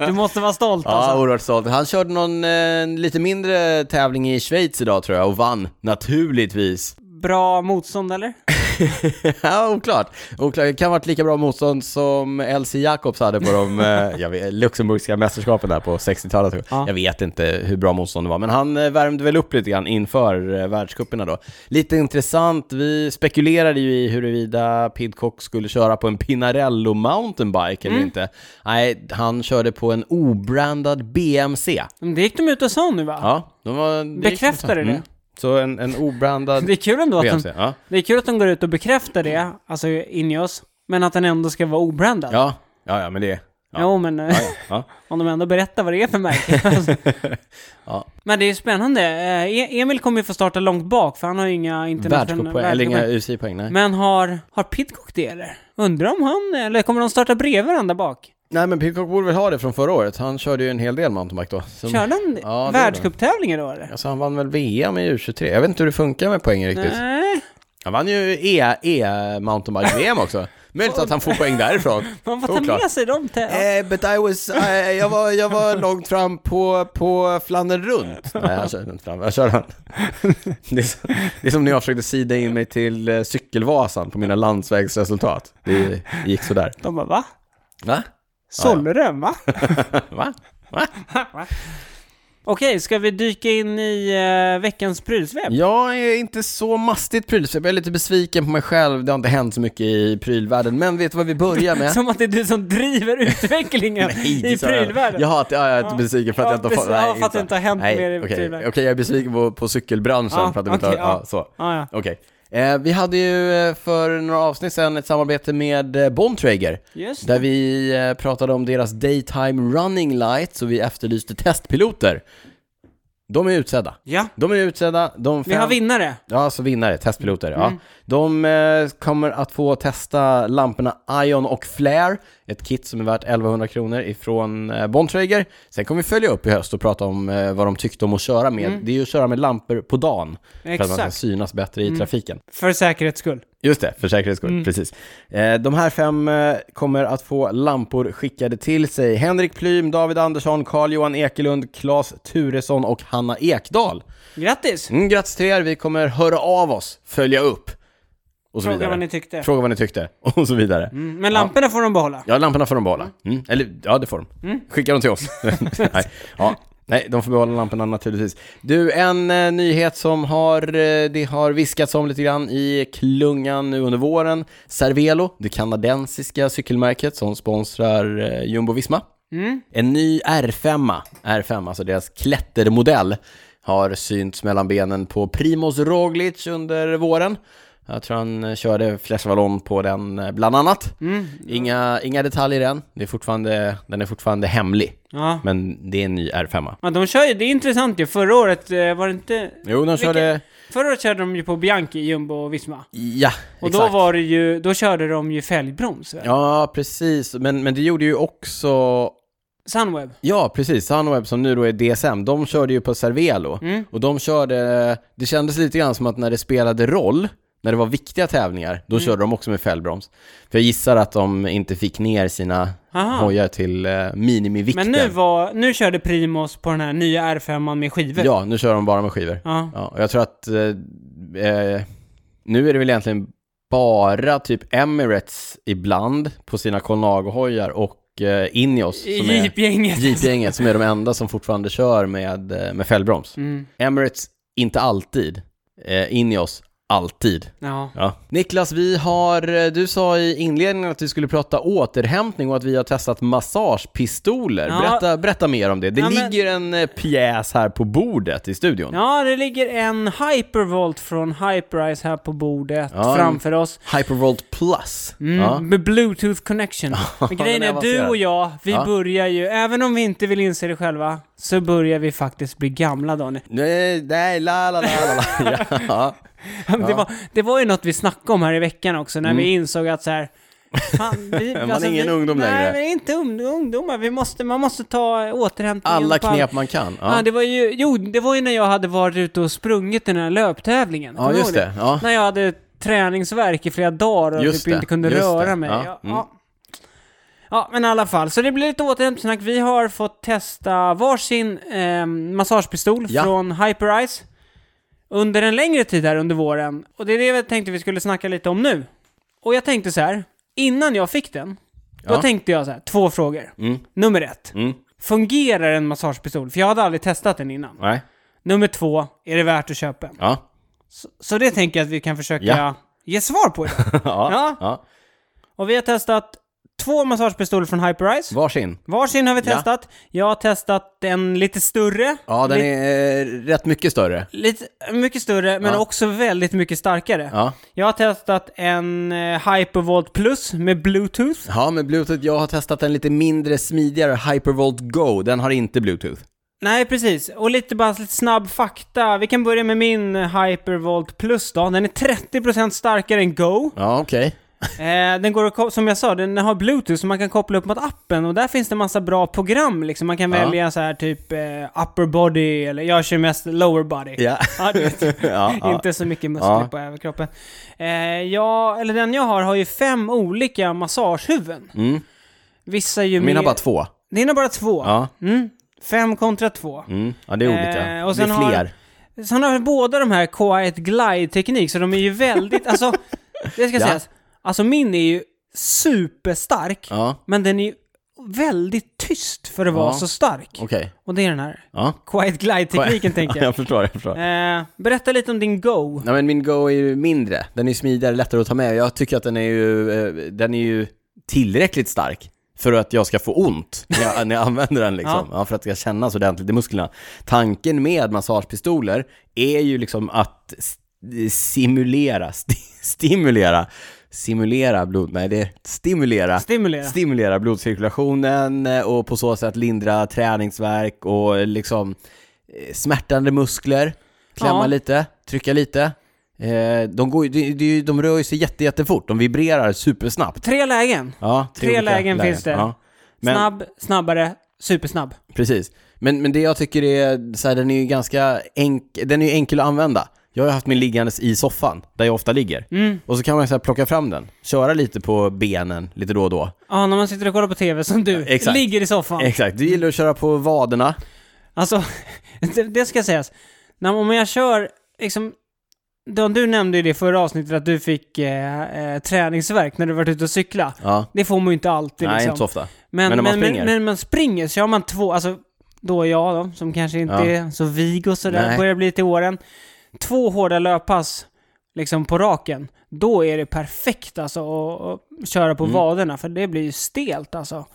B: Du måste vara stolt
A: Ja,
B: alltså.
A: oerhört stolt. Han körde någon eh, lite mindre tävling i Schweiz idag tror jag och vann, naturligtvis.
B: Bra motstånd eller?
A: [laughs] ja, oklart. oklart. Det kan ha varit lika bra motstånd som LC Jacobs hade på de
B: [laughs]
A: eh, jag vet, Luxemburgska mästerskapen där på 60-talet. tror jag.
B: Ja.
A: Jag vet inte hur bra motstånd det var, men han eh, värmde väl upp lite grann inför eh, världscuperna då. Lite intressant, vi spekulerade ju i huruvida Pidcock skulle köra på en Pinarello mountainbike
B: Mm.
A: eller inte. Nej, han körde på en obrandad BMC.
B: Men Det gick de ut och sa nu va?
A: Ja, de var... det gick
B: Bekräftar
A: intressant.
B: du det? Mm.
A: Så en, en obrandad
B: [laughs] Det är kul ändå att de,
A: BMC, ja.
B: det är kul att de går ut och bekräftar det, alltså in i oss, men att den ändå ska vara obrandad.
A: Ja, ja, ja men det... Ja,
B: Jo, men eh,
A: ja.
B: om de ändå berättar vad det är
A: [laughs]
B: för märke. Alltså.
A: Ja.
B: Men det är ju spännande. Eh, E- Emil kommer ju få starta långt bak, för han har ju inga internationella...
A: Världscuppoäng, eller inga
B: världscuppoäng.
A: UCI-poäng, nej.
B: Men har, har Pidcock det eller? Undrar om han, eller kommer de starta bredvid varandra bak?
A: Nej men Pidcock borde väl ha det från förra året, han körde ju en hel del mountainbike då. Som,
B: Körde han
A: Ja, det
B: ja,
A: gjorde han.
B: världscuptävlingar då eller?
A: Alltså han vann väl VM i U23, jag vet inte hur det funkar med poäng riktigt.
B: Nej,
A: Han vann ju E- E-mountainbike-VM också. Möjligt att han får poäng därifrån.
B: man får ta
A: Oklart.
B: med sig dem till... Ja.
A: Eh, but I was, eh, jag, var, jag var långt fram på, på Flandern
B: [laughs]
A: runt. Nej, jag körde inte fram, jag körde han. Det är, så- det är som när jag försökte sida in mig till eh, Cykelvasan på mina landsvägsresultat. Det gick sådär.
B: De bara va?
A: Va?
B: Solrem va?
A: Va? Va?
B: Okej, ska vi dyka in i eh, veckans prylsvep?
A: Jag är inte så mastigt prylsvep, jag är lite besviken på mig själv, det har inte hänt så mycket i prylvärlden. Men vet du vad vi börjar med?
B: [laughs]
A: [laughs]
B: Som att det är du som driver utvecklingen i
A: sa jag.
B: prylvärlden.
A: Jaha, att- ja, jag är besviken för att
B: Ja,
A: jag inte har fått...
B: precis. Ja, för att det inte har hänt
A: nej,
B: mer i
A: okej.
B: prylvärlden.
A: Okej, jag är besviken på, på cykelbranschen
B: Ja,
A: för att de inte
B: okej,
A: har... Ja,
B: ja.
A: så.
B: Ah, ja.
A: Okej. Eh, vi hade ju eh, för några avsnitt sedan ett samarbete med eh, Bontrager.
B: Just det.
A: Där vi eh, pratade om deras daytime running lights och vi efterlyste testpiloter. De är utsedda.
B: Ja,
A: De är utsedda, de fem...
B: vi har vinnare.
A: Ja, alltså vinnare, testpiloter. Ja. De eh, kommer att få testa lamporna Ion och Flare, ett kit som är värt 1100 kronor ifrån eh, Bontrager. Sen kommer vi följa upp i höst och prata om eh, vad de tyckte om att köra med. Det är ju att köra med lampor på dagen, för att man ska
B: Exakt.
A: synas bättre i trafiken.
B: För säkerhets skull.
A: Just det, för säkerhets skull. Precis. Eh, de här fem eh, kommer att få lampor skickade till sig. Henrik Plym, David Andersson, Carl-Johan Ekelund, Claes Turesson och Hanna Ekdahl.
B: Grattis!
A: Mm, grattis till er, vi kommer höra av oss, följa upp och så
B: Fråga
A: vidare.
B: vad ni tyckte.
A: Fråga vad ni tyckte och så vidare.
B: Mm, Men lamporna får de behålla.
A: Ja, lamporna får de behålla. Mm. Eller ja, det får de. Skicka dem till oss. [laughs] Nej. Ja. Nej, de får behålla lamporna naturligtvis. Du, en eh, nyhet som har, eh, det har viskats om lite grann i klungan nu under våren. Cervelo, det kanadensiska cykelmärket som sponsrar eh, Jumbo-Visma. En ny R5, R5, alltså deras klättermodell, har synts mellan benen på Primoz Roglic under våren. Jag tror han eh, körde Flash Vallon på den eh, bland annat. Inga, inga detaljer än, det är fortfarande, den är fortfarande hemlig.
B: Ja.
A: Men det är en ny R5.
B: Men de kör ju, det är intressant ju. Förra året eh, var det inte...
A: Jo, de körde...
B: Förra året körde de ju på Bianchi, Jumbo och Visma.
A: Ja,
B: Och då
A: exakt.
B: var det ju, då körde de ju fälgbroms. Ja.
A: Ja, precis. Men, men det gjorde ju också
B: Sunweb.
A: Ja, precis. Sunweb som nu då är DSM, de körde ju på Cervelo.
B: Mm.
A: Och de körde, det kändes lite grann som att när det spelade roll, när det var viktiga tävlingar,
B: Mm.
A: då körde de också med fällbroms. För jag gissar att de inte fick ner sina
B: Aha.
A: hojar till eh, minimivikten.
B: Ah. Men nu var, nu körde Primos på den här nya R5 med skivor.
A: Ja, nu kör de bara med skivor.
B: Ja.
A: Ja, och jag tror att eh, eh, nu är det väl egentligen bara typ Emirates ibland på sina Colnago-hojar och eh, Ineos som är
B: Jeep-gänget.
A: Jeep-gänget som är de enda som fortfarande kör med, eh, med fällbroms.
B: Mm.
A: Emirates, inte alltid. Eh, Ineos, Alltid.
B: Ja.
A: Ja. Niklas, vi har, eh, du sa i inledningen att vi skulle prata återhämtning och att vi har testat massagepistoler.
B: Ja.
A: Berätta, berätta mer om det. Det
B: Ja, men-
A: ligger en eh, pjäs här på bordet i studion.
B: Ja, det ligger en Hypervolt från Hyperice här på bordet
A: Ja, en-
B: framför oss.
A: Hypervolt Plus.
B: Mm,
A: Ja.
B: Med bluetooth
A: [laughs]
B: connection. Men
A: den
B: grejen
A: är
B: är, du
A: avancerad.
B: och jag, vi
A: Ja.
B: börjar ju, även om vi inte vill inse det själva, så börjar vi faktiskt bli gamla Daniel.
A: Nej, nej, la, la, la, la, la. [laughs] Ja.
B: [laughs]
A: Mm.
B: Det, var, det var ju något vi snackade om här i veckan också, när vi insåg att så här, fan, vi,
A: [laughs]
B: alltså,
A: Man är ingen
B: vi,
A: ungdom
B: nej,
A: längre.
B: Nej, men inte ung- ungdomar. Vi måste, man måste ta återhämtningen
A: Alla
B: på all-
A: knep man kan.
B: Ja.
A: Ja.
B: det var ju, jo, det var ju när jag hade varit ute och sprungit den här löptävlingen.
A: Ja,
B: Kommer du
A: just
B: ihåg
A: det. Ja.
B: När jag hade träningsvärk i flera dagar och
A: Just
B: typ inte
A: det,
B: kunde
A: just
B: röra
A: det.
B: mig.
A: Ja,
B: Ja, ja.
A: mm.
B: Ja, men i alla fall. Så det blir lite återhämtningssnack. Vi har fått testa varsin eh, massagepistol
A: Ja.
B: från Hyperice under en längre tid här under våren. Och det är det jag tänkte vi skulle snacka lite om nu. Och jag tänkte så här, innan jag fick den, då
A: Ja.
B: tänkte jag så här, två frågor. Nummer ett,
A: Mm.
B: fungerar en massagepistol? För jag hade aldrig testat den innan.
A: Nej.
B: Nummer två, är det värt att köpa en?
A: Ja.
B: Så, så det tänker jag att vi kan försöka
A: Ja.
B: ge svar
A: [laughs]
B: på idag.
A: Ja.
B: Ja.
A: ja.
B: Och vi har testat två massagepistoler från Hyperice.
A: Varsin.
B: Varsin har vi
A: Ja.
B: testat. Jag har testat en lite större.
A: Ja, den
B: Li-
A: är eh, rätt mycket större.
B: Lite, mycket större, men
A: Ja.
B: också väldigt mycket starkare.
A: Ja.
B: Jag har testat en eh, Hypervolt Plus med Bluetooth.
A: Ja, men Bluetooth, jag har testat en lite mindre smidigare Hypervolt Go. Den har inte Bluetooth.
B: Nej, precis. Och lite bara lite snabb fakta. Vi kan börja med min Hypervolt Plus då. Den är 30% starkare än Go.
A: Ja, okej.
B: Eh, den går att, ko- som jag sa, den har bluetooth så man kan koppla upp mot appen och där finns det massa bra program liksom. Man kan
A: Ja.
B: välja så här typ eh, upper body eller jag kör mest lower body.
A: Ja. [laughs]
B: Ja, du vet.
A: ja, ja.
B: Inte så mycket muskler
A: Ja.
B: på överkroppen. Eh, jag, eller den jag har, har ju fem olika massagehuvuden.
A: Mm.
B: Vissa är ju
A: Min har
B: mer-
A: bara två.
B: Din har bara två?
A: Ja.
B: Mm. Fem kontra två.
A: Mm. ja, det är olika.
B: Eh, och sen
A: det är
B: har-
A: fler.
B: Sen har vi båda de här Quiet Glide-teknik, så de är
A: [laughs]
B: ju väldigt, alltså, det ska
A: Ja.
B: sägas, alltså min är ju superstark,
A: Ja,
B: men den är ju väldigt tyst för att
A: Ja.
B: vara så stark.
A: okej.
B: Och det är den här
A: Ja. [laughs]
B: Quiet Glide-tekniken, tänker jag.
A: jag förstår, jag förstår.
B: Eh, berätta lite om din Go.
A: Nej men min Go är ju mindre, den är ju smidigare, lättare att ta med. Jag tycker att den är ju, eh, den är ju tillräckligt stark för att jag ska få ont när jag, när jag använder den liksom. ja. för att det ska kännas ordentligt i musklerna. Tanken med massagepistoler är ju liksom att st- simulera, [laughs] st- stimulera, simulera blod, nej det är stimulera
B: Stimulera.
A: stimulera blodcirkulationen eh, och på så sätt lindra träningsvärk och eh, liksom eh, smärtande muskler. Klämma
B: Ja.
A: lite, trycka lite. Eh, De, går, ju- det- det är ju- de rör ju sig jätte, jättefort, de vibrerar supersnabbt.
B: Tre lägen.
A: Ja,
B: Tre
A: olika
B: lägen finns det.
A: Ja. Men,
B: Snabb, snabbare, supersnabb.
A: Precis. Men, men det jag tycker är, så här, den är ju ganska enk- den är ju enkel att använda. Jag har ju haft min liggandes i soffan, där jag ofta ligger.
B: Mm.
A: Och så kan man så här, plocka fram den, köra lite på benen lite då och då.
B: Ja, när man sitter och kollar på TV som du,
A: exakt.
B: ligger i soffan.
A: Exakt, du gillar att köra på vaderna.
B: Alltså, [laughs] det, det ska sägas. När, om jag kör, liksom... Don, du nämnde ju det i förra avsnittet att du fick eh, eh, träningsvärk när du varit ute och cykla.
A: Ja.
B: Det får man ju inte alltid
A: Nej,
B: liksom.
A: inte så ofta. Men
B: Men, men,
A: när man
B: men,
A: springer?
B: men, man springer så har man två, alltså då är jag då, som kanske inte
A: Ja.
B: är så vig och sådär,
A: Nej.
B: börjar bli till åren. Två hårda löppass liksom på raken. Då är det perfekt alltså att, att köra
A: Mm.
B: på vaderna, för det blir ju stelt alltså.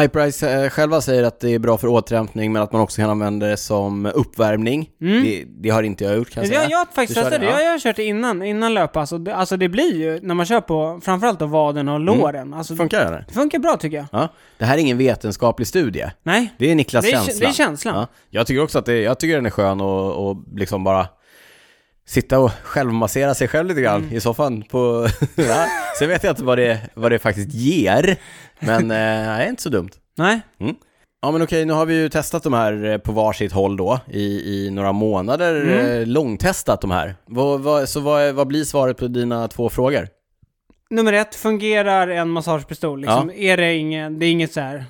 A: Hyperice eh, själva säger att det är bra för återhämtning men att man också kan använda det som uppvärmning. Det, det har inte jag gjort kan jag säga.
B: Mm. Jag, jag har faktiskt
A: Du kör
B: testat det.
A: det, ja.
B: Jag, jag har kört det innan, innan löppass. Och det, alltså det blir ju, när man kör på framförallt då vaderna och
A: Mm.
B: låren. Alltså,
A: Funkar det eller?
B: det funkar bra tycker jag.
A: Ja. Det här är ingen vetenskaplig studie.
B: Nej,
A: Det är Niklas
B: Det är-
A: känsla.
B: det är känslan.
A: Ja. Jag tycker också att det, jag tycker den är skön och, och liksom bara sitta och självmassera sig själv lite grann
B: Mm.
A: i soffan på... [laughs] ja. Sen vet jag inte vad det, vad det faktiskt ger, men eh, nej, det är inte så dumt.
B: nej.
A: Ja men okej, nu har vi ju testat de här eh, på varsitt håll då i, i några månader,
B: Mm.
A: eh, långtestat de här. Vad, vad, så vad, är- vad blir svaret på dina två frågor?
B: Nummer ett, fungerar en massagepistol? Liksom, Är det ingen, det är inget så här...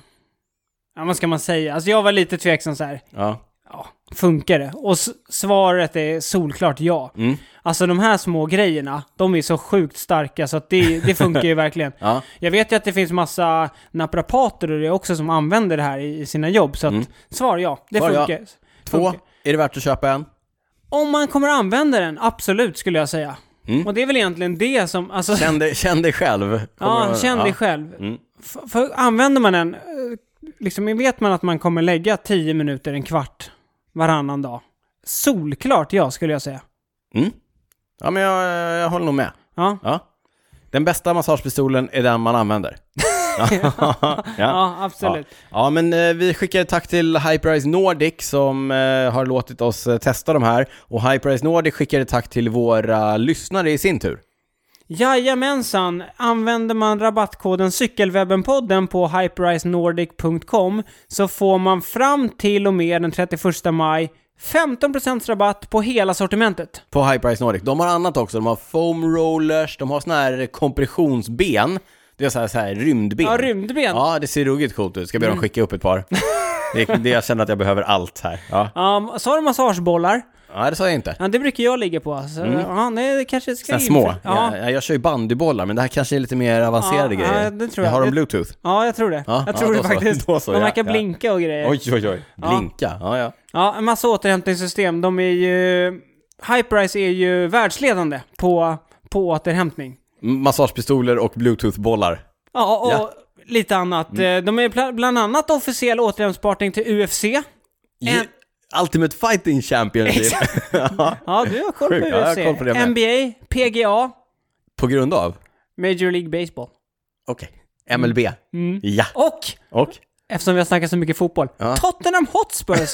B: Ja, vad ska man säga? Alltså jag var lite tveksam så här.
A: Ja.
B: Ja, funkar det? Och s- svaret är solklart ja.
A: Mm.
B: Alltså de här små grejerna, de är så sjukt starka så att det, det funkar
A: [laughs]
B: ju verkligen.
A: Ja.
B: Jag vet ju att det finns massa naprapater och det också som använder det här i i sina jobb, så att svar ja, det
A: Mm. Svar ja.
B: funkar.
A: Två,
B: Funkar.
A: är det värt att köpa en?
B: Om man kommer använda den, absolut skulle jag säga.
A: Mm.
B: Och det är väl egentligen det som... Alltså,
A: Känn dig, känn dig själv. Kommer
B: ja, Mm.
A: du-
B: känn dig
A: ja.
B: själv. F- För använder man den, eh, liksom vet man att man kommer lägga 10 minuter, en kvart varannan dag. Solklart ja, skulle jag säga.
A: Mm. Ja, men jag, jag håller nog med.
B: Ja,
A: Ja. Den bästa massagepistolen är den man
B: [laughs]
A: använder. [laughs] ja.
B: ja absolut.
A: Ja. ja, men eh, vi skickar ett tack till Hyperice Nordic som eh, har låtit oss eh, testa de här. Och Hyperice Nordic skickar ett tack till våra lyssnare i sin tur.
B: Jajamensan! Använder man rabattkoden Cykelwebbenpodden på hyperrisenordic.com så får man fram till och med den 31 maj 15% rabatt på hela sortimentet.
A: På Hyperice Nordic. De har annat också. De har foam rollers, de har såna här kompressionsben. Det är så här, så här rymdben.
B: Ja, rymdben. Mm. Ja.
A: Ja, det ser ruggigt coolt ut. Ska be dem skicka upp ett
B: [laughs]
A: par. Det, det jag känner att jag behöver allt här. Ja,
B: sa du massagebollar?
A: ja det sa jag inte.
B: Ja, det brukar jag ligga på. Så, Ja, nej, det kanske ska
A: Såna
B: in-
A: Mm. små.
B: Ja.
A: Jag, jag kör ju bandybollar, men det här kanske är lite mer avancerade
B: Ja,
A: grejer.
B: ja, det tror jag.
A: har de
B: Det-
A: bluetooth?
B: ja, jag tror det.
A: Ja,
B: jag
A: ja,
B: tror
A: då
B: det
A: så.
B: faktiskt.
A: Då så,
B: De
A: ja,
B: verkar
A: ja.
B: blinka och grejer.
A: Oj, oj, oj. Blinka. Ja, ja.
B: Ja, en massa återhämtningssystem. De är ju... Hyperice är ju världsledande på, på återhämtning.
A: Massagepistoler och bluetoothbollar.
B: Ja, och
A: Ja. Mm.
B: lite annat. Eh, De är pla- bland annat officiell återhämtningspartner till UFC.
A: Ju- Ultimate Fighting Championship. Ja,
B: Ja, du har koll på
A: Sjukt, ja, jag har
B: UFC.
A: koll på det med.
B: NBA, PGA,
A: [laughs] På grund av?
B: Major League Baseball.
A: Okej. MLB. Ja.
B: Och,
A: Och?
B: eftersom vi har snackat så mycket fotboll, Tottenham Hotspurs.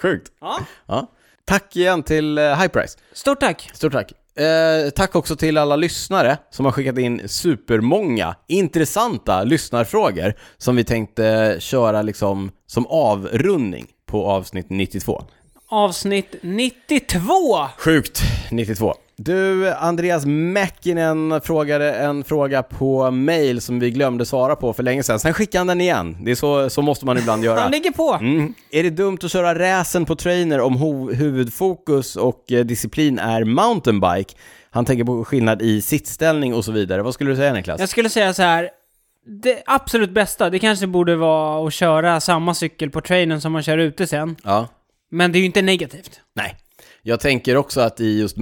A: [laughs] Sjukt.
B: Ja,
A: Ja. Tack igen till eh, Hyperice.
B: stort tack.
A: Stort tack. Eh, tack också till alla lyssnare som har skickat in supermånga intressanta lyssnarfrågor som vi tänkte köra liksom som avrundning på avsnitt 92.
B: Avsnitt 92.
A: Sjukt, 92. Du, Andreas Mäkinen frågade en fråga på mail som vi glömde svara på för länge sedan. Sen skickade han den igen. Det är så, så måste man ibland göra.
B: Han ligger på.
A: Mm. Är det dumt att köra räsen på trainer om ho- huvudfokus och eh, disciplin är mountainbike? Han tänker på skillnad i sittställning och så vidare. Vad skulle du säga Niklas?
B: Jag skulle säga så här. Det absolut bästa, det kanske borde vara att köra samma cykel på trainen som man kör ute sen.
A: Ja.
B: Men det är ju inte negativt.
A: Nej. Jag tänker också att i just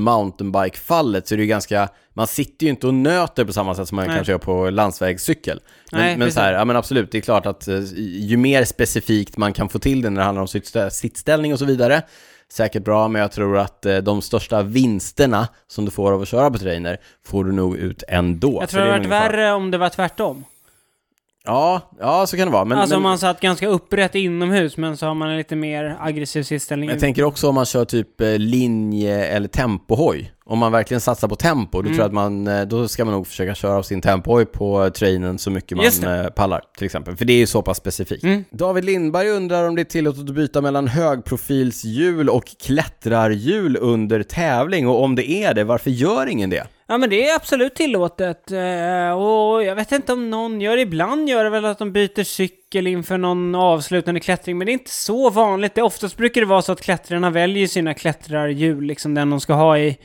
A: mountainbike-fallet så är det ju ganska, man sitter ju inte och nöter på samma sätt som man
B: Nej.
A: kanske gör på landsvägscykel. Men,
B: Nej,
A: men
B: precis.
A: så här, ja men absolut, det är klart att eh, ju mer specifikt man kan få till det när det handlar om sitt- sittställning och så vidare, säkert bra, men jag tror att eh, de största vinsterna som du får av att köra på trainer får du nog ut ändå.
B: Jag
A: Så
B: tror det
A: är
B: hade varit
A: min erfarenhet.
B: värre om det var tvärtom.
A: Ja, ja, så kan det vara. Men,
B: alltså
A: men...
B: om man satt ganska upprätt inomhus men så har man en lite mer aggressiv sittställning.
A: Jag tänker också om man kör typ eh, linje eller tempohoj. Om man verkligen satsar på tempo, då tror jag att
B: Mm.
A: man, eh, då ska man nog försöka köra av sin tempohoj på eh, trainen så mycket man
B: Just det. Mm.
A: eh, pallar, till exempel. För det är ju så pass specifikt. David Lindberg undrar om det är tillåtet att byta mellan högprofilshjul och klättrarhjul under tävling, och om det är det, varför gör ingen det?
B: Ja men det är absolut tillåtet. Eh, Och jag vet inte om någon gör det. Ibland gör det väl att de byter cykel inför någon avslutande klättring. Men det är inte så vanligt. Det, oftast brukar det vara så att klättrarna väljer sina klättrarhjul, liksom den de ska ha i,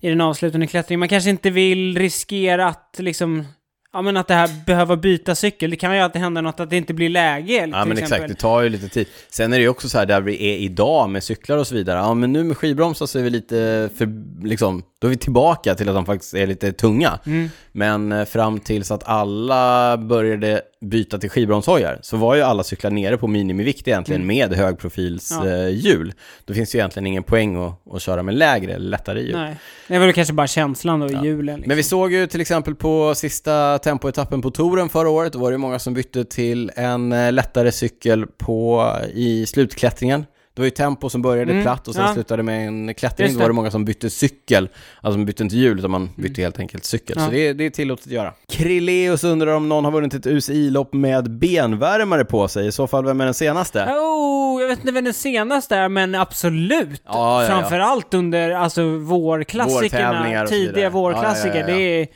B: i den avslutande klättringen. Man kanske inte vill riskera att liksom... Ja men att det här behöva byta cykel. Det kan ju alltid hända något att det inte blir läge till
A: Ja men
B: exempel.
A: exakt, det tar ju lite tid. Sen är det ju också så här där vi är idag med cyklar och så vidare. Ja men nu med skivbromsar så är vi lite för, liksom, då är vi tillbaka till att de faktiskt är lite tunga.
B: Mm.
A: Men eh, fram tills att alla började byta till skivbromshojar så var ju alla cyklar nere på minimivikt egentligen med
B: Mm. Ja.
A: högprofilshjul. Då finns det ju egentligen ingen poäng att, att köra med lägre eller lättare hjul.
B: Nej. Det är väl kanske bara känslan då i hjulen. Liksom.
A: Men vi såg ju till exempel på sista tempoetappen på touren förra året, då var det ju många som bytte till en eh, lättare cykel på, i slutklättringen. Det var ju tempo som började
B: Mm,
A: platt och sen
B: ja.
A: slutade med en klättring.
B: Just
A: Då var
B: det. Mm.
A: det många som bytte cykel. Alltså man bytte inte hjul utan man bytte helt enkelt cykel.
B: Ja.
A: Så det, är- det är tillåtet att göra. Krilleus undrar om någon har vunnit ett UCI-lopp med benvärmare på sig. I så fall, vem är den senaste?
B: Oh, jag vet inte vem den senaste är, men absolut.
A: Ja, ja, ja.
B: Framförallt under alltså,
A: Vårtävlingar
B: vårklassikerna,
A: och så vidare.
B: tidiga vårklassiker.
A: Ja, ja, ja, ja.
B: Det är,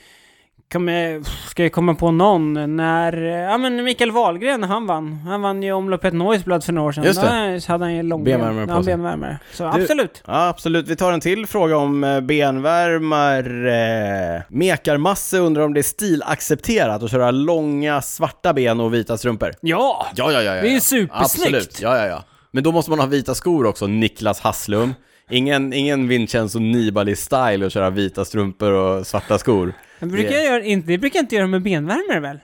B: kommer, ska jag komma på någon? När, ja men Mikael Wahlgren, han vann. Han vann ju omloppet Noisblad för några år sedan.
A: Just det.
B: Där så hade han ju långben.
A: Benvärmare på
B: ja,
A: sig.
B: benvärmare. Så
A: Du-
B: absolut.
A: Ja, absolut. Vi tar en till fråga om eh, benvärmare. Mekarmasse undrar om det är stilaccepterat att köra långa svarta ben och vita strumpor.
B: Ja!
A: Ja, ja, ja. ja.
B: Det är ju
A: ja.
B: supersnyggt.
A: Absolut. Ja, ja, ja. Men då måste man ha vita skor också, Niklas Hasslum. Ingen, ingen Vincenzo Nibali-style att köra vita strumpor och svarta skor.
B: Det brukar jag göra, inte, det brukar jag inte göra med benvärmare väl?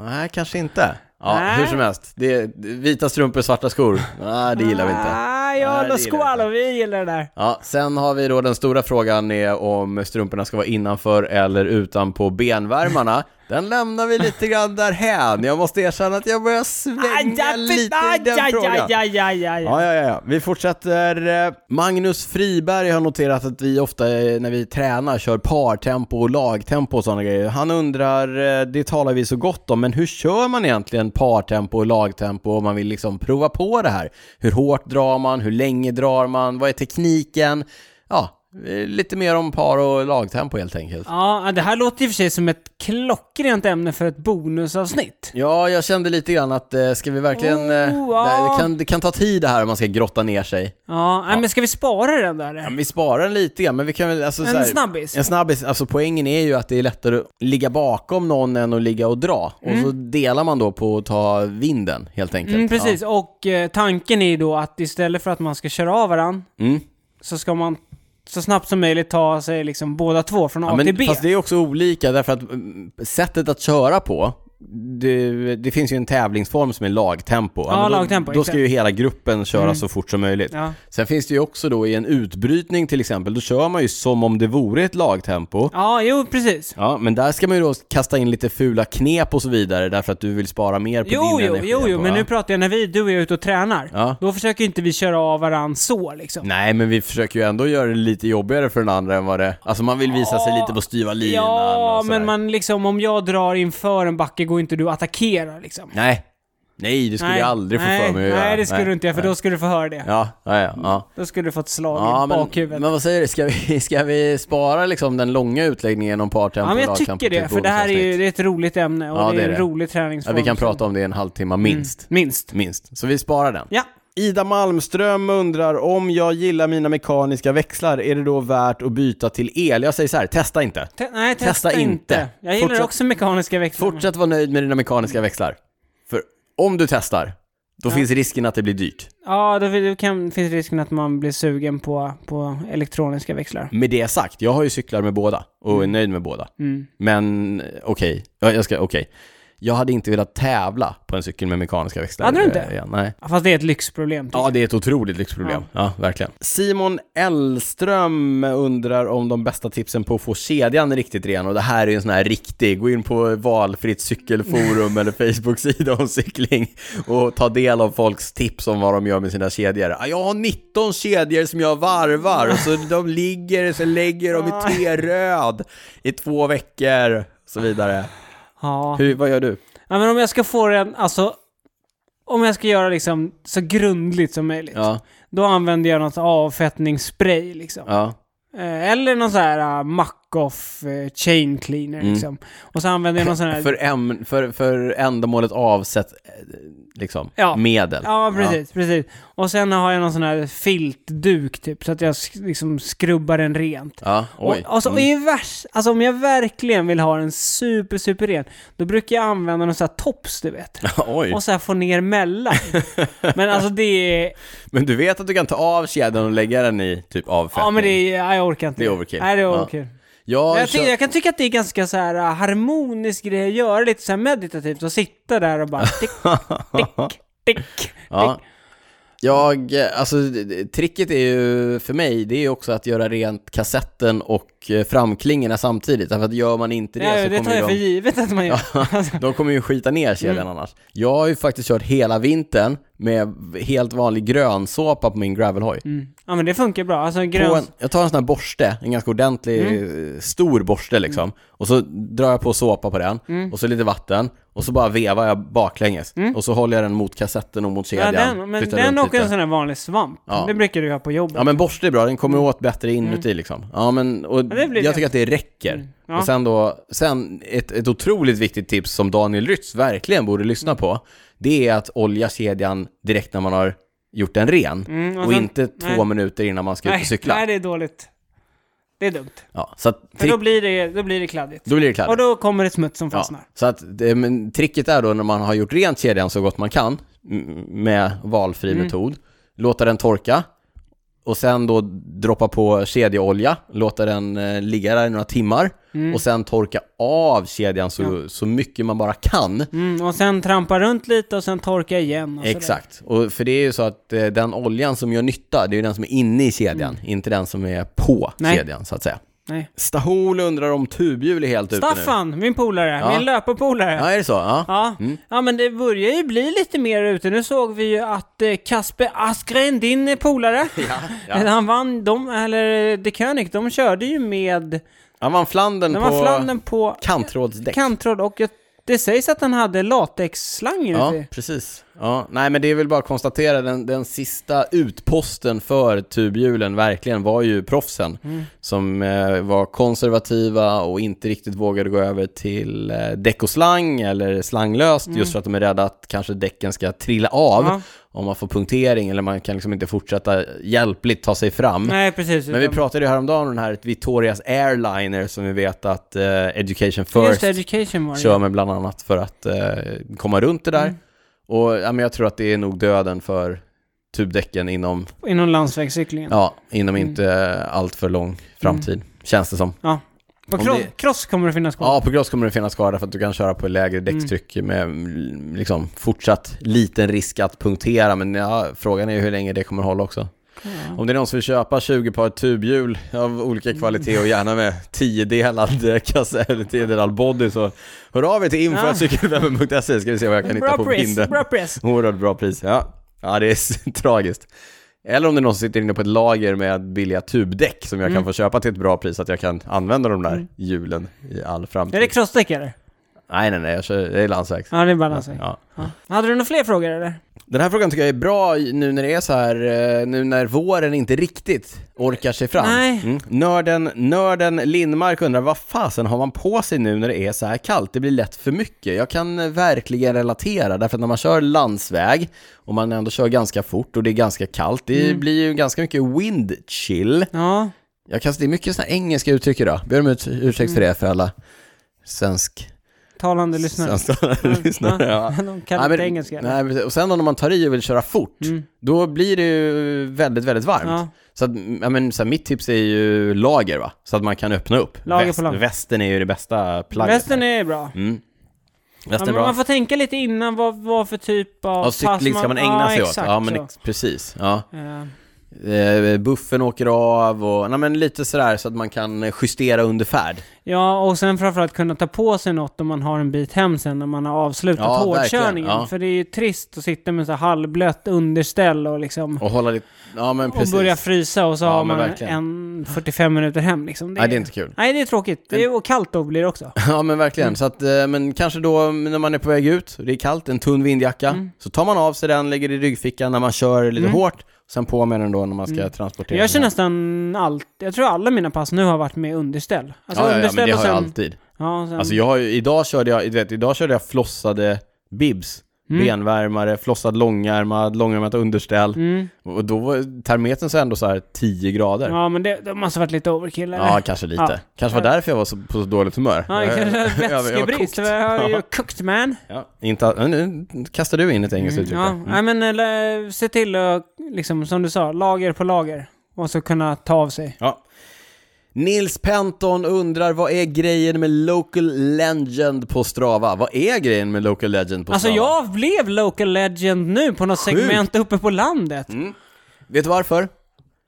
A: Nej, kanske inte. Ja,
B: Nej.
A: hur som helst. Det är vita strumpor, svarta skor. Nej, det gillar vi inte.
B: Ah,
A: Nej,
B: ja,
A: det gillar
B: lo
A: vi
B: squalo, vi gillar det där.
A: Ja, sen har vi då den stora frågan är om strumporna ska vara innanför eller utanpå benvärmarna. Den lämnar vi lite grann därhän. Jag måste erkänna att jag börjar svänga lite i den frågan.
B: frågan.
A: Ja, ja, ja, ja. Vi fortsätter. eh, Magnus Friberg har noterat att vi ofta eh, när vi tränar kör partempo och lagtempo och sådana grejer. Han undrar, eh, det talar vi så gott om, men hur kör man egentligen partempo och lagtempo om man vill liksom prova på det här? Hur hårt drar man? Hur länge drar man? Vad är tekniken? Ja, eh, lite mer om par och lagtempo helt enkelt.
B: Ja, det här låter i och för sig som ett klockrent ämne för ett bonusavsnitt.
A: Ja, jag kände lite grann att eh, ska vi verkligen... eh,
B: Oh, ja.
A: det, kan, det kan ta tid det här om man ska grotta ner sig.
B: Ja, nej, men ska vi spara den där?
A: Ja, men vi sparar den lite grann, men vi kan väl... Alltså,
B: En
A: så här,
B: snabbis.
A: En snabbis. Alltså poängen är ju att det är lättare att ligga bakom någon än att ligga och dra. Och så delar man då på att ta vinden, helt enkelt.
B: Mm, precis, och eh, tanken är ju då att istället för att man ska köra av varandra
A: Ja. Mm.
B: så ska man så snabbt som möjligt ta sig liksom båda två från A
A: Ja,
B: till
A: men,
B: B.
A: fast det är också olika, därför att mm, sättet att köra på, det, det finns ju en tävlingsform som är lagtempo.
B: Ja,
A: men då,
B: lagtempo,
A: Då
B: exakt. Mm.
A: ska ju hela gruppen köra så fort som möjligt.
B: Ja.
A: Sen finns det ju också då i en utbrytning till exempel, då kör man ju som om det vore ett lagtempo.
B: Ja, jo precis.
A: Ja, men där ska man ju då kasta in lite fula knep och så vidare därför att du vill spara mer på
B: Jo,
A: din
B: jo,
A: energi.
B: jo,
A: än
B: jo,
A: på-
B: men
A: ja.
B: nu pratar jag när vi, du och jag är ute och tränar.
A: Ja.
B: Då försöker ju inte vi köra av varandra så liksom.
A: Nej, men vi försöker ju ändå göra det lite jobbigare för den andra än vad det... Alltså man vill visa sig lite på styva linan
B: Ja,
A: och sådär.
B: men man liksom, om jag drar inför en backe går inte du att attackera liksom.
A: Nej. Nej, det skulle
B: Nej,
A: jag aldrig få
B: nej,
A: för mig att göra.
B: Nej, det skulle du inte göra, för då skulle du få höra det.
A: Ja, ja, ja. ja.
B: Då skulle du få ett slag
A: Ja,
B: i
A: men,
B: bakhuvudet.
A: men vad säger du? Ska vi, [laughs] ska vi spara liksom den långa utläggningen om partempo
B: ja, men jag
A: och
B: tycker
A: lagtempo till
B: det, för det här är ju
A: bonusavsnitt?
B: det är ett roligt ämne och
A: Ja,
B: det
A: det
B: är
A: är
B: en
A: det.
B: rolig träningsform.
A: Ja, vi kan
B: som-
A: prata om det i en halvtimme minst.
B: Minst.
A: Minst. Så vi sparar den.
B: Mm. Ja.
A: Ida Malmström undrar om jag gillar mina mekaniska växlar, är det då värt att byta till el? Jag säger så här, testa inte.
B: Te- nej, testa,
A: Testa
B: inte.
A: inte.
B: Jag gillar
A: Fortsätt-
B: också mekaniska växlar.
A: Fortsätt vara nöjd med dina mekaniska växlar. För om du testar, då finns risken att det blir dyrt.
B: Ja, då vill- då kan, finns risken att man blir sugen på, på elektroniska växlar.
A: Med det sagt, jag har ju cyklar med båda och är nöjd med båda.
B: Mm.
A: Men eh, okej, Ja, jag ska, okej. Jag hade inte velat tävla på en cykel med mekaniska växlar.
B: Hade du inte?
A: eh, igen. Nej.
B: Ja, Fast det är ett lyxproblem. typ. tycker
A: Ja, det är ett otroligt lyxproblem. Ja. verkligen. Simon Elström undrar om de bästa tipsen på att få kedjan riktigt ren. Och det här är ju en sån här riktig, gå in på valfritt [laughs] cykelforum eller Facebook-sida om cykling och ta del av folks tips om vad de gör med sina kedjor. Ja, Jag har 19 kedjor som jag varvar och så de ligger, så lägger de i T-röd i två veckor och så vidare.
B: Ja.
A: Hur, vad gör du?
B: ja, men om jag ska få den, alltså... Om jag ska göra liksom så grundligt som möjligt,
A: Ja,
B: då använder jag något avfettningsspray liksom.
A: ja.
B: Eh, Eller någon sån här uh, Macoff eh, chain cleaner liksom. Och så använder jag någon sån här...
A: Mm. [laughs] För, äm, för, för ändamålet avsett eh, liksom,
B: Ja.
A: medel.
B: Ja, precis, precis. Och sen har jag någon sån här filtduk typ, så att jag sk- liksom skrubbar den rent.
A: Ja. Ja, oj. Mm.
B: Och, alltså, och i vers, alltså om jag verkligen vill ha den super, super ren, då brukar jag använda någon sån här tops, du vet.
A: [laughs] oj.
B: Och så här få
A: [laughs]
B: ner mellan. Men alltså det är...
A: Men du vet att du kan ta av kedjan och lägga den i typ avfettning?
B: Ja men det är... nej, Jag orkar inte.
A: Det är overkill.
B: Nej, det är
A: Ja.
B: overkill.
A: Jag,
B: Men Jag,
A: kör-
B: tycker, jag kan tycka att det är ganska så här äh, harmonisk grej att göra, lite så här meditativt, och sitta där
A: [laughs]
B: och bara tick, tick, tick,
A: Ja.
B: tick.
A: Jag, eh, alltså d- d- tricket är ju för mig, det är ju också att göra rent kassetten och eh, framklingorna samtidigt. Därför att gör man inte det
B: Ja,
A: så
B: det tar
A: kommer ju
B: jag för
A: de,
B: givet Mm. att man gör. [laughs] Alltså,
A: de kommer ju skita ner kedjan annars. Jag har ju faktiskt kört hela vintern med helt vanlig grönsåpa på min gravelhoj.
B: Mm. Ja men det funkar bra. Alltså grön... Mm.
A: på en, jag tar en sån här borste, en ganska ordentlig, eh, stor borste liksom. Och så drar jag på såpa på den,
B: Mm.
A: och så lite vatten, och så bara vevar jag baklänges. Och så håller jag den mot kassetten och mot
B: ja,
A: kedjan.
B: den, men
A: flyttar
B: den
A: runt
B: och en
A: lite.
B: sån här vanlig svamp.
A: Ja.
B: Det brukar du ha på jobbet.
A: Ja men borste är bra, den kommer åt bättre inuti liksom. Ja men, och
B: Mm. det
A: jag
B: blir det. Mm.
A: tycker att det räcker.
B: Ja.
A: Och sen då, sen ett, ett otroligt viktigt tips som Daniel Rytz verkligen borde
B: Mm.
A: lyssna på, det är att olja kedjan direkt när man har gjort den ren.
B: Mm,
A: och
B: sen-
A: inte två
B: nej.
A: minuter innan man ska ut
B: nej,
A: och cykla.
B: nej, det är dåligt. Det är dumt.
A: Ja, så att,
B: För då blir det, då blir det kladdigt.
A: då blir det kladdigt.
B: Och då kommer det smuts som
A: Ja,
B: fastnar.
A: så att det, men, tricket är då när man har gjort rent
B: Mm.
A: kedjan så gott man kan m- med valfri metod, låta den torka och sen då droppa på kedjeolja, låta den eh, ligga där i några timmar
B: Mm.
A: och sen torka av kedjan så, så mycket man bara kan.
B: Mm, och sen trampa runt lite och sen torka igen. Och sådär.
A: Exakt, och för det är ju så att eh, den oljan som gör nytta, det är ju den som är inne i kedjan, inte den som är på
B: Mm. Nej.
A: kedjan så att säga.
B: Nej.
A: Stahol undrar om tubhjul är helt ute nu.
B: Staffan, min polare,
A: Ja.
B: min löparpolare.
A: Ja, Mm. är det så? Ja.
B: Ja. ja, men det börjar ju bli lite mer ute. Nu såg vi ju att eh, Kasper Askren, din eh, polare,
A: [laughs] ja.
B: han vann, de, eller eh, De König, de körde ju med,
A: Han vann Flandern
B: de
A: på
B: var Flandern på
A: kantrådsdäck.
B: kantråd och jag, det sägs att han hade latexslang
A: Ja,
B: ute.
A: precis. Ja, nej, men det är väl bara att konstatera, den, den sista utposten för tubhjulen verkligen var ju proffsen.
B: Mm.
A: Som eh, var konservativa och inte riktigt vågade gå över till eh, däck och slang eller slanglöst just för att de är rädda att kanske däcken ska trilla av
B: Mm. Ja.
A: om man får punktering eller man kan liksom inte fortsätta hjälpligt ta sig fram.
B: Nej, precis.
A: Men vi
B: utan-
A: pratade ju häromdagen om den här Victorias Airliner som vi vet att eh, Education First
B: Just education var det.
A: kör med bland annat för att eh, komma runt det där. Och ja, men jag tror att det är nog döden för tubdäcken inom,
B: Inom landsvägscyklingen. Ja.
A: ja, inom inte allt för lång framtid, känns det som.
B: På
A: Om
B: cro-
A: det-
B: cross kommer det finnas kvar.
A: Ja, på gross kommer det finnas kvar därför att du kan köra på lägre däcktryck med mm, liksom fortsatt liten risk att punktera, men ja, frågan är ju hur länge det kommer hålla också. Om det är någon som vill köpa 20 par tubhjul av
B: Mm.
A: olika kvalitet och gärna med 10-delad kasse eller 10-delad body så hör av er till info.cykelwebben.se ska vi se vad jag kan hitta
B: bra
A: på
B: press,
A: vinden.
B: bra press.
A: Oerhört bra pris, ja. Ja, det är s- [laughs] tragiskt. Eller om det är någon som sitter inne på ett lager med billiga tubdäck som jag
B: Mm.
A: kan få köpa till ett bra pris, så att jag kan använda de där hjulen i all framtid.
B: Är det crossdäck eller?
A: Nej, nej, nej, jag kör, det är landsvägs.
B: Ja, det är bara landsväg.
A: Ja.
B: Ja. Hade du några fler frågor eller?
A: Den här frågan tycker jag är bra i- nu när det är så här, eh, nu när våren inte riktigt orkar sig fram.
B: Nej.
A: Mm. Nörden, nörden Lindmark undrar, vad fasen har man på sig nu när det är så här kallt? Det blir lätt för mycket. Jag kan eh, verkligen relatera, därför att när man kör landsväg och man ändå kör ganska fort och det är ganska kallt, det blir ju ganska mycket wind chill.
B: Ja.
A: Jag kan, det är mycket sådana engelska uttryck idag. Ber om ut, ursäkt för det för alla svensk...
B: Talande
A: [laughs]
B: lyssnare.
A: svensktalande lyssnare. Ja.
B: [laughs] De kan inte
A: men-
B: engelska. Mm.
A: Nej, precis. och sen om man tar i och vill köra fort, då blir det ju väldigt, väldigt varmt.
B: Ja.
A: Så, att, ja, men, så här, mitt tips är ju lager va? Så att man kan öppna upp.
B: Lager på lager.
A: Västen är ju det bästa plagget.
B: Västen är bra.
A: mm.
B: Ja,
A: Västen är
B: men
A: bra.
B: man får tänka lite innan vad, vad för typ av
A: Ja, cykling ska man ägna
B: ja,
A: sig åt.
B: exakt
A: Ja, men
B: så.
A: ex- precis. Ja.
B: Eh,
A: Eh, buffen åker av och nej, men lite sådär så att man kan justera under färd.
B: Ja, och sen framförallt kunna ta på sig något om man har en bit hem sen när man har avslutat
A: Ja,
B: hårdkörningen.
A: verkligen, ja.
B: För det är ju trist att sitta med så här halvblött underställ och liksom...
A: Och hålla lite... Ja, men
B: Och
A: precis.
B: börja frysa och så
A: Ja,
B: har
A: men
B: man
A: verkligen.
B: en 45 minuter hem liksom.
A: Nej, det är inte kul.
B: Nej, det är tråkigt. Det är, och kallt då blir det också.
A: [laughs] Ja men verkligen,
B: Mm.
A: så att, eh, men kanske då när man är på väg ut, det är kallt, en tunn vindjacka,
B: Mm.
A: så tar man av sig den, lägger i ryggfickan när man kör lite hårt, sen på med den då när man ska transportera
B: Mm. Jag kör
A: den.
B: nästan allt. Jag tror alla mina pass nu har varit med underställ. Alltså
A: ja, ja, ja, men
B: underställ
A: det
B: och
A: har
B: sen...
A: jag alltid.
B: Ja, sen...
A: Alltså jag har ju, idag körde jag, du vet, idag körde jag flossade bibs, benvärmare, flossad långärmad, långärmat underställ,
B: Mm.
A: och då var termometern så ändå så här 10 grader. Ja.
B: Ja, men det, det måste varit lite overkill eller?
A: kanske lite.
B: Ja.
A: Kanske var därför jag var så, på så dåligt humör. [laughs]
B: Ja, det
A: Jag-
B: kanske
A: jag- jag
B: är
A: var
B: vätskebrist.
A: kokt.
B: Jag har ju
A: Ja.
B: cooked man.
A: Ja, inte, all- nu kastar du in ett engelskt uttryck
B: Mm. Ja,
A: där.
B: nej men eller, se till att, liksom som du sa, lager på lager. Och så kunna ta av sig.
A: Ja. Nils Penton undrar vad är grejen med Local Legend på Strava? Vad är grejen med Local Legend på
B: Alltså
A: Strava?
B: jag blev local legend nu på något
A: Sjukt. Mm.
B: segment uppe på landet.
A: Vet du varför?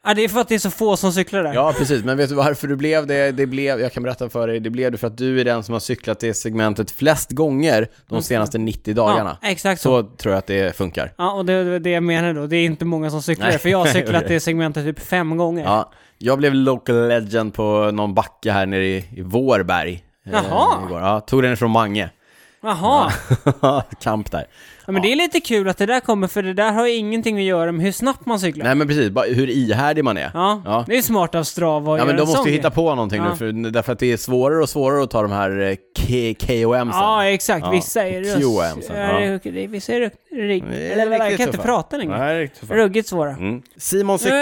B: Ja, det är för att det är så få som cyklar där.
A: Ja, precis. Men vet du varför du blev det? det blev, jag kan berätta för dig. Det blev det för att du är den som har cyklat det segmentet flest gånger de senaste 90 dagarna.
B: Mm. Ja, exakt så.
A: Så tror jag att det funkar.
B: Ja, och det var det jag menar då. Det är inte många som cyklar
A: Nej. [laughs]
B: för jag har cyklat det segmentet typ fem gånger.
A: Ja, jag blev local legend på någon backe här nere i, i Vårberg. eh,
B: Jaha.
A: igår. Ja, tog den från
B: [laughs]
A: Mange.
B: Jaha. Ja.
A: Kamp där.
B: men det är lite kul att det där kommer, för det där har ju ingenting att göra med hur snabbt man cyklar.
A: Nej men precis, bara hur ihärdig man är.
B: Ja.
A: Ja.
B: det är smart av Strava att
A: Ja
B: göra
A: men de
B: en sån
A: måste ju hitta
B: grej.
A: på någonting nu,
B: Ja.
A: för, därför att det är svårare och svårare att ta de här eh, K- KOM sen.
B: Ja, exakt.
A: Ja.
B: Vissa är röst...
A: QM sen,
B: Ja,
A: ja.
B: det är- Vissa är rugg...
A: Det är
B: Eller
A: riktigt
B: jag kan inte
A: tuffa.
B: prata längre.
A: Nej, det är riktigt fan.
B: Ruggigt svåra.
A: Mm. Simon Cyk...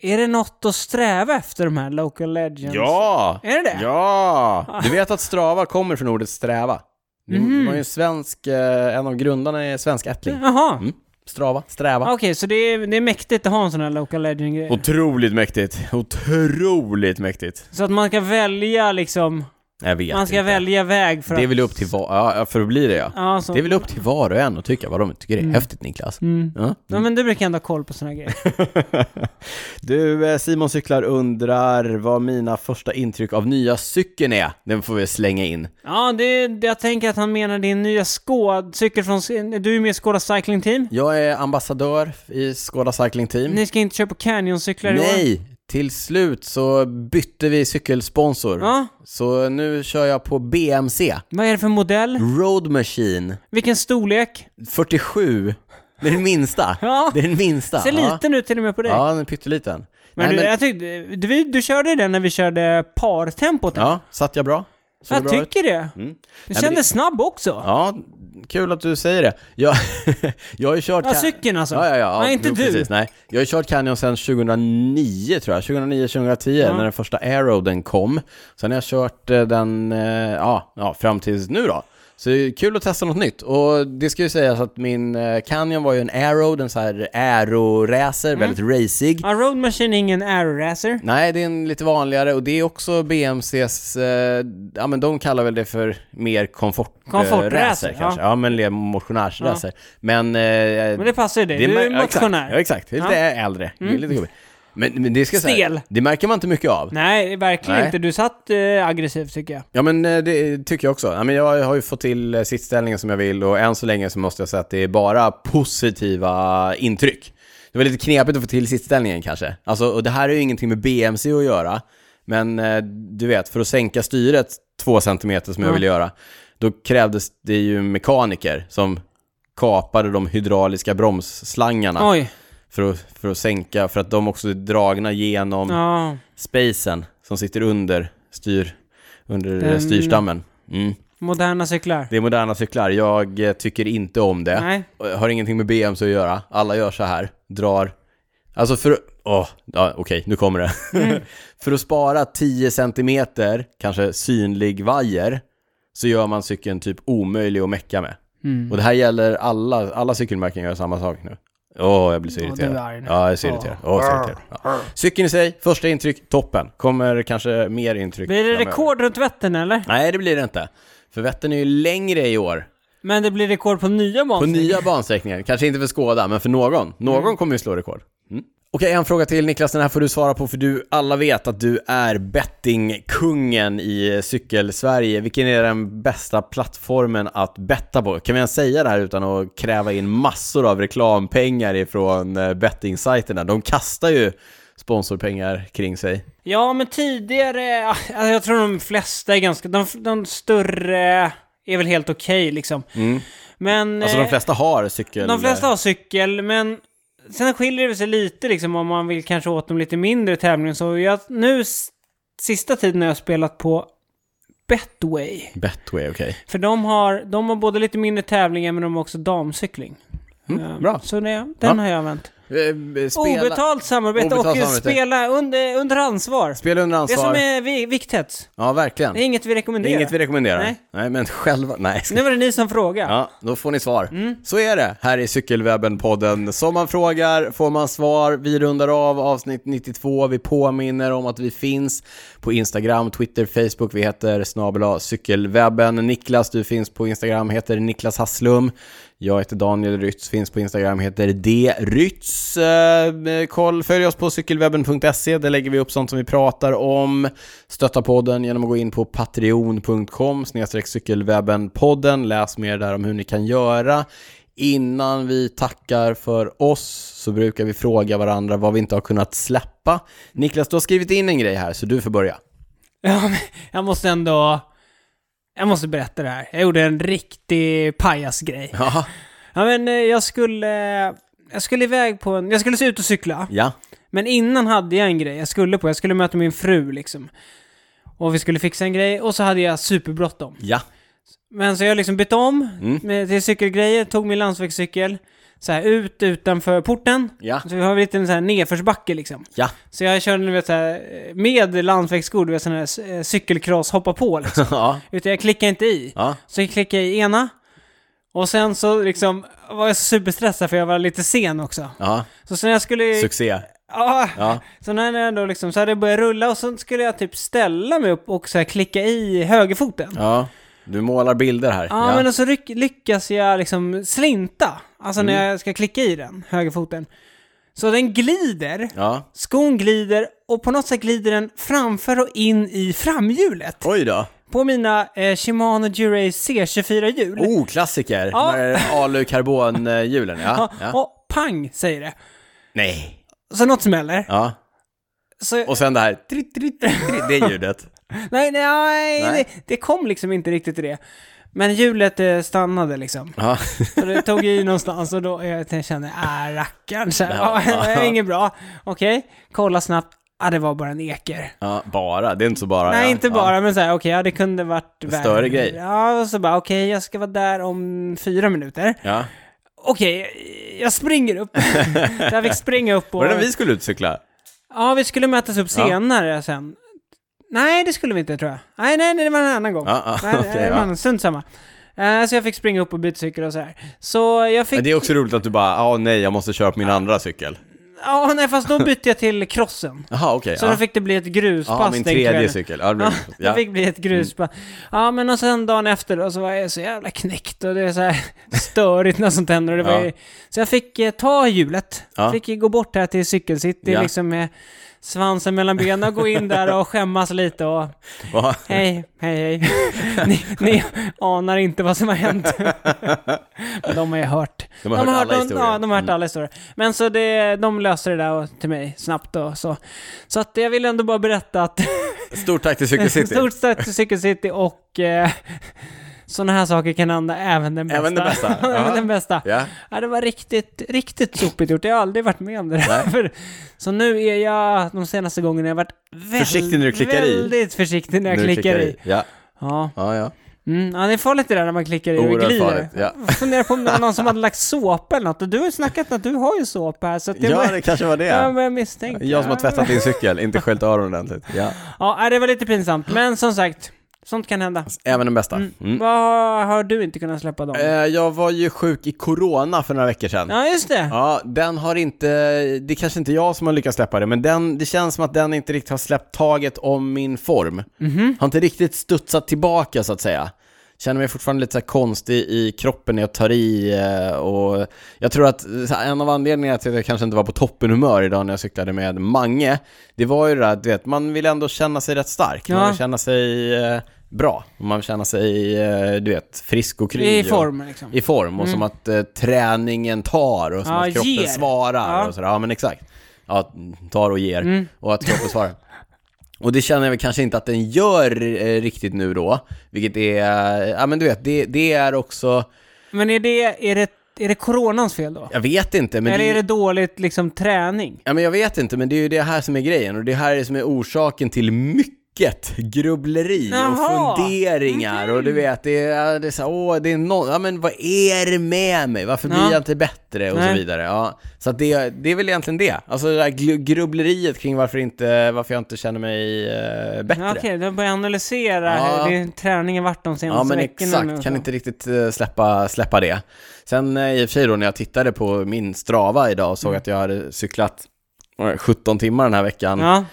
B: Är det något att sträva efter de här Local Legends?
A: Ja!
B: Är det det?
A: Ja! Du vet att strava kommer från
B: Mhm.
A: ordet sträva. Det var ju en svensk, eh, en av grundarna är svensk ättling.
B: Jaha.
A: Mm. Strava, sträva.
B: Okej, så det är, det är mäktigt att ha en sån här Local Legend-grej.
A: Otroligt mäktigt. Otroligt mäktigt.
B: Så att man ska välja liksom...
A: Jag vet
B: Man ska
A: inte.
B: välja väg för
A: Det är
B: att...
A: väl upp till var, ja, ja, för att bli det ja.
B: Ja, så.
A: Det är väl upp till var och en att tycka vad de tycker är häftigt Niklas.
B: Mm.
A: Ja.
B: Ja, men du brukar ändå ha koll på
A: [laughs]
B: såna grejer.
A: Du, eh, Simon Cyklar undrar vad mina första intryck av nya cykeln är. Den får vi slänga in.
B: Ja, det, det- jag tänker att han menar din nya Skåd, cykel från... Du är med i Skåda Cycling Team.
A: Jag är ambassadör i Skåda Cycling Team.
B: Ni ska inte köpa Canyon-cyklar i år.
A: Nej! Till slut så bytte vi cykelsponsor.
B: Ja,
A: Så nu kör jag på BMC.
B: vad är det för modell?
A: Road Machine
B: Vilken storlek?
A: 47. Det är den minsta.
B: [laughs] Ja.
A: Det är den minsta.
B: Ser liten ut till och med på dig.
A: Ja, den är pytteliten.
B: Men,
A: Nej,
B: du, jag tyckte, du, vi- du körde den när vi körde partempot.
A: Ja, satt jag bra? Såg det
B: jag
A: bra ut?
B: tycker det.
A: Mm.
B: Du
A: men
B: kändes
A: det-
B: snabb också. Ja,
A: Ja, kul att du säger det. Jag, [laughs] jag har ju kört... Ca-
B: cykeln alltså.
A: Ja, ja, ja.
B: Nej, inte
A: Jo,
B: du.
A: Precis, nej. Jag har ju kört Canyon sedan 2009 tror jag, 2009, 2010 när den första Aeroden kom. Sen har jag kört eh, den, eh, ja, ja, fram tills nu då. Så det är kul att testa något nytt. Och det ska ju sägas att min eh, Canyon var ju en Aero, en så här Aero-racer, väldigt racig.
B: Mm. Ja, Road Machine är ingen aeroracer.
A: Nej, det är en lite vanligare och det är också BMCs, eh, ja men de kallar väl det för mer komfortracer
B: Komfortracer,
A: racer, kanske. Ja, men det är motionärsracer. Men, eh,
B: Men det passar ju dig. Du
A: mär-
B: är
A: ja, Exakt, ja,
B: motionär. Mm.
A: exakt. Det är lite äldre, Det är lite gubbig. Men, men det ska jag
B: Stel.
A: säga, det märker man inte mycket av.
B: Nej, verkligen
A: Nej.
B: inte. Du satt eh, aggressiv tycker jag.
A: Ja men eh, det tycker jag också. Ja, men jag har ju fått till eh, sittställningen som jag vill och än så länge så måste jag säga att det är bara positiva intryck. Det var lite knepigt att få till sittställningen kanske. Alltså, och det här är ju ingenting med BMC att göra. Men eh, du vet, för att sänka styret två centimeter som jag
B: Ja.
A: ville göra, då krävdes det ju mekaniker som kapade de hydrauliska bromsslangarna
B: Oj.
A: för att, för att sänka, för att de också är dragna genom
B: Ja.
A: spacen som sitter under, styr, under eh,
B: Den-
A: styrstammen. Mm.
B: Moderna cyklar.
A: Det är moderna cyklar, jag eh, tycker inte om det.
B: Nej.
A: Eh, Har ingenting med BMC att göra, alla gör så här, drar. Alltså för åh, ja, okej, nu kommer det.
B: Mm.
A: [laughs] för att spara 10 cm, kanske synlig vajer, så gör man cykeln typ omöjlig att mecka med.
B: Mm.
A: Och det här gäller alla, alla cykelmärken gör samma sak nu. Åh, jag blir så
B: Ja,
A: irriterad.
B: du är arg nu.
A: ja, jag är så irriterad. Åh, så irriterad. Ja. Cykeln i sig, första intryck, toppen. Kommer kanske mer intryck
B: Blir det
A: framöver.
B: rekord runt Vättern eller?
A: Nej, det blir det inte. För Vättern är ju längre i år.
B: Men det blir rekord på nya
A: På
B: banor.
A: nya bansträckningar. Kanske inte för Skåda, men för någon. Någon kommer ju slå rekord. Mm. Okej, en fråga till Niklas. Den här får du svara på, för du alla vet att du är bettingkungen i cykelsverige. Vilken är den bästa plattformen att betta på? Kan vi ens säga det här utan att kräva in massor av reklampengar ifrån eh, bettingsajterna? De kastar ju sponsorpengar kring sig.
B: Ja, men tidigare... [laughs] ja, Alltså jag tror de flesta är ganska... De, de större är väl helt okej liksom. Men...
A: Mm. Alltså de
B: eh,
A: flesta har cykel...
B: de flesta har cykel, men... Sen skiljer det sig lite liksom om man vill kanske åt de lite mindre tävlingarna. Så jag, nu s- sista tiden har jag spelat på Betway.
A: Betway, okej.
B: För de har, de har både lite mindre tävlingar men de har också damcykling. Eh,
A: Mm, bra.
B: Så det, den
A: Ja.
B: har jag använt.
A: Eh, eh, Spela,
B: Obetalt samarbete
A: Obetalt
B: och eh,
A: samarbete.
B: spela under, under ansvar.
A: spela under
B: Det är
A: ansvar.
B: som är vi- vikthets.
A: Ja, verkligen.
B: Det är inget vi
A: Det
B: rekommenderar.
A: är inget vi rekommenderar.
B: Nej.
A: Nej, men själva... Nej. Mm.
B: Nu var det ni som frågade.
A: Ja, då får ni svar. Så är det här i Cykelwebben-podden. Som man frågar får man svar. Vi rundar av avsnitt 92. Vi påminner om att vi finns på Instagram, Twitter, Facebook. Vi heter snabel cykelwebben. Niklas, du finns på Instagram, heter Niklas Hasslum. Jag heter Daniel Rytz, finns på Instagram, heter D. Rytz. Eh, koll, följ oss på cykelwebben.se. Där lägger vi upp sånt som vi pratar om. Stötta podden genom att gå in på patreon.com snedstreck cykelwebbenpodden. Läs mer där om hur ni kan göra. Innan vi tackar för oss så brukar vi fråga varandra vad vi inte har kunnat släppa. Niklas, du har skrivit in en grej här, så du får börja.
B: Ja, men jag måste ändå... Jag måste berätta det här. Jag gjorde en riktig pajasgrej.
A: Ja.
B: Ja, men eh, jag skulle... eh, Jag skulle iväg på en... Jag skulle se ut och cykla.
A: Ja.
B: Men innan hade jag en grej jag skulle på. Jag skulle möta min fru liksom. Och vi skulle fixa en grej och så hade jag superbråttom.
A: Ja.
B: Men så jag liksom bytte om
A: Mm.
B: med, till cykelgrejer, tog min landsvägscykel. Så här ut utanför porten.
A: Ja.
B: Så vi har lite en sån här nedförsbacke liksom.
A: Ja.
B: Så jag körde du vet, så här, med landsvägsskor, du vet sån
A: [laughs]
B: här eh, cykelkross, hoppa på liksom.
A: Ja.
B: Utan jag klickade inte i.
A: Ja.
B: Så jag klickade i ena. Och sen så liksom var jag superstressad för jag var lite sen också.
A: Ja,
B: Så sen jag skulle...
A: succé.
B: Ah,
A: Ja.
B: Så när jag ändå liksom, så hade jag börjat rulla och så skulle jag typ ställa mig upp och så här klicka i högerfoten. Ja,
A: Ja, du målar bilder här.
B: men och så ryck, lyckas jag liksom slinta. Alltså
A: Mm.
B: när jag ska klicka i den, högerfoten. Så den glider,
A: ja.
B: skon glider och på något sätt glider den framför och in i framhjulet.
A: Oj då.
B: På mina eh, Shimano Durace C24-hjul.
A: Oh, klassiker.
B: Ja.
A: De här alukarbonhjulen, ja.
B: Ja,
A: ja.
B: Och pang säger det.
A: Nej.
B: Så något smäller.
A: Ja.
B: Så,
A: Och sen det här, tritt, tritt, tritt, [laughs] tritt, det ljudet.
B: nej, nej, nej.
A: Nej.
B: Det, det kom liksom inte riktigt i det. Men hjulet eh, stannade liksom.
A: Ja.
B: Så det tog i någonstans och då eh, jag tänkte- kände jag, äh, rackarn. Så här,
A: Ja.
B: ja, [laughs] det är inget bra. Okej, kolla snabbt. Ja, det var bara en eker.
A: ja, bara. Det är inte så bara.
B: Nej,
A: ja.
B: inte
A: ja.
B: bara, men så här, okej, ja, det kunde varit värre.
A: Större grej.
B: Ja, och så bara, okej, jag ska vara där om fyra minuter.
A: Ja.
B: Okej, jag springer
A: [laughs]
B: upp. så jag fick springa upp och...
A: Var det när vi skulle ut cykla?
B: Ja, vi skulle mötas upp
A: Ja.
B: senare sen. Nej, det skulle vi inte tror jag. Nej, nej, nej det var en annan gång.
A: Ja, ja,
B: nej,
A: okej,
B: det var
A: ja.
B: en stund samma. Eh, så jag fick springa upp och byta cykel och så här. Så jag fick...
A: Men det är också roligt att du bara, ja nej, jag måste köra på min andra cykel.
B: Ja, nej, fast då bytte jag till crossen.
A: Jaha, okej.
B: Så då fick det bli ett gruspass
A: ja. ja, min
B: den
A: tredje
B: kvällen.
A: cykel. Ja, det
B: Ja,
A: blir-
B: det
A: ja. Mm.
B: fick bli ett gruspass. Ja, men och sen dagen efter då så var jag så jävla knäckt och det är så här [laughs] störigt när sånt händer. Och det var
A: Ja.
B: ju... Så jag fick eh, ta hjulet.
A: Ja.
B: Fick ju gå bort här till cykelcity
A: Ja.
B: liksom med svansen mellan benen och gå in där och skämmas lite och
A: Va?
B: Hej,
A: [laughs]
B: hej, hej. Ni, ni anar inte vad som har hänt. Men de har ju hört.
A: De har hört alla historier. Mm.
B: Ja, de har hört alla historier. Men så det, de löser det där och- till mig snabbt och så. Så att jag vill ändå bara berätta att [laughs]
A: Stort tack till Cykel City.
B: stort stöd till Cykel City och eh, sådana här saker kan hända även den bästa.
A: Även den bästa.
B: [laughs] även
A: Ja.
B: den bästa.
A: Ja.
B: Ja, det var riktigt, riktigt sopigt gjort. Jag har aldrig varit med om det där. [laughs] För, så nu är jag, de senaste gångerna, jag har varit väl,
A: Försiktig när du klickar i.
B: väldigt försiktig när jag
A: Nu
B: klickar, i.
A: Ja,
B: Ja.
A: ja, ja.
B: Mm, ja, det är farligt det där när man klickar i och
A: Oerhört
B: glider.
A: farligt, ja.
B: Jag funderar på om det var någon som hade lagt såpa eller något. Och du har ju snackat om att du har ju såpa här, så att det var...
A: Ja, det kanske var
B: Ja,
A: det.
B: men jag misstänkte.
A: Jag som har tvättat din cykel, inte sköljt öronen ordentligt. Ja.
B: Ja, nej, det var lite pinsamt. Men som sagt, sånt kan hända.
A: Även den bästa. Mm.
B: Vad har du inte kunnat släppa dem?
A: Eh, Jag var ju sjuk i corona för några veckor sedan.
B: Ja, just det.
A: Ja, den har inte, det är kanske inte jag som har lyckats släppa det, men den, det känns som att den inte riktigt har släppt taget om min form.
B: Mhm.
A: Har inte riktigt studsat tillbaka så att säga. Känner mig fortfarande lite så här konstig i kroppen när jag tar i eh, och jag tror att eh, så här, en av anledningarna till att jag kanske inte var på toppenhumör idag när jag cyklade med Mange, det var ju det där att du vet, man vill ändå känna sig rätt stark,
B: Ja.
A: man vill känna sig eh, bra, man vill känna sig, eh, du vet, frisk och kry.
B: I
A: och-
B: form liksom.
A: i form och som att eh, träningen tar och som
B: Ja,
A: att kroppen
B: ger.
A: svarar
B: Ja. Mm.
A: och sådär. Ja men exakt. Ja, tar och ger och att kroppen svarar. Och det känner jag väl kanske inte att den gör eh, riktigt nu då, vilket är, ja men du vet, det, det är också,
B: Men är det, är, det, är det coronans fel då?
A: jag vet inte men
B: Eller
A: det,
B: är det dåligt liksom träning?
A: Ja men jag vet inte, men det är ju det här som är grejen och det här är som är orsaken till mycket grubbleri
B: Jaha.
A: och funderingar och du vet, det är, det är så här, åh, det är någon, ja men vad är det med mig? Varför
B: Ja.
A: blir jag inte bättre? Och
B: Nej.
A: så vidare. Ja, så att det, det är väl egentligen det. Alltså det där glu- grubbleriet kring varför, inte, varför jag inte känner mig eh, bättre.
B: Ja, Okej, du börjar analysera
A: Ja.
B: hur din träningen varit de senaste
A: Ja men
B: veckorna. nu och
A: exakt,
B: så.
A: kan inte riktigt eh, släppa, släppa det. Sen eh, i och för sig då när jag tittade på min Strava idag och
B: Mm.
A: såg att jag hade cyklat eh, 17 timmar den här veckan.
B: Ja,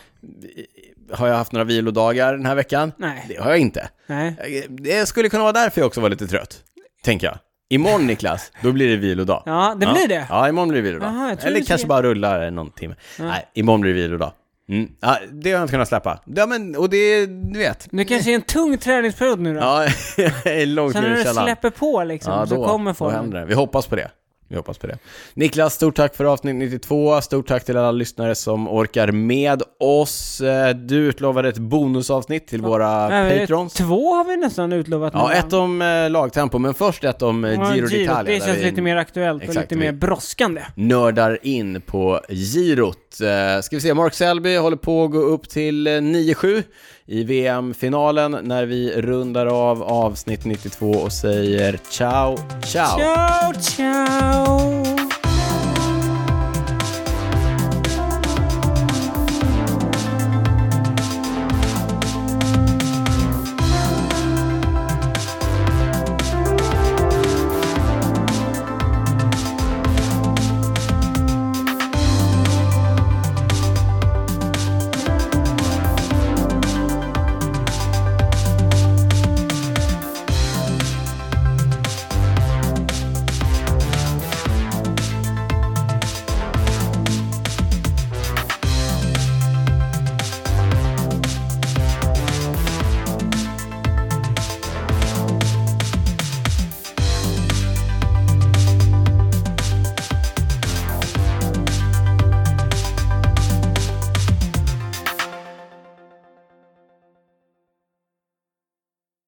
A: Har jag haft några vilodagar den här veckan?
B: nej.
A: Det har jag inte.
B: nej.
A: Det skulle kunna vara därför jag också var lite trött, tänker jag. Imorgon Niklas, då blir det vilodag.
B: Ja, det blir det.
A: Ja, imorgon blir det vilodag.
B: Aha, jag tror
A: Eller
B: du
A: kanske
B: säger-
A: bara rullar någon timme. Nej, imorgon blir det vilodag. Mm. Ja, det har jag inte kunnat släppa. Ja, men, och det, du vet.
B: Nu kanske är en tung träningsperiod nu då.
A: Ja, [laughs] jag är långt
B: Sen
A: ner
B: när
A: i
B: du
A: källaren.
B: släpper på liksom,
A: Ja,
B: så kommer
A: då
B: formen.
A: händer det. Vi hoppas på det. Vi hoppas på det. Niklas, stort tack för avsnitt 92. Stort tack till alla lyssnare som orkar med oss. Eh, Du utlovade ett bonusavsnitt till våra
B: Ja, vi-
A: patrons.
B: Två har vi nästan utlovat
A: Ja,
B: nu.
A: ett om eh, lagtempo, men först ett om eh,
B: Ja,
A: Giro d'Italia.
B: Det
A: där
B: känns
A: vi
B: lite mer aktuellt och
A: Exakt,
B: lite
A: vi-
B: mer brådskande.
A: nördar in på girot. Eh, Ska vi se, Mark Selby håller på att gå upp till eh, 9-7 i VM-finalen när vi rundar av avsnitt 92 och säger ciao, ciao.
B: Ciao, ciao!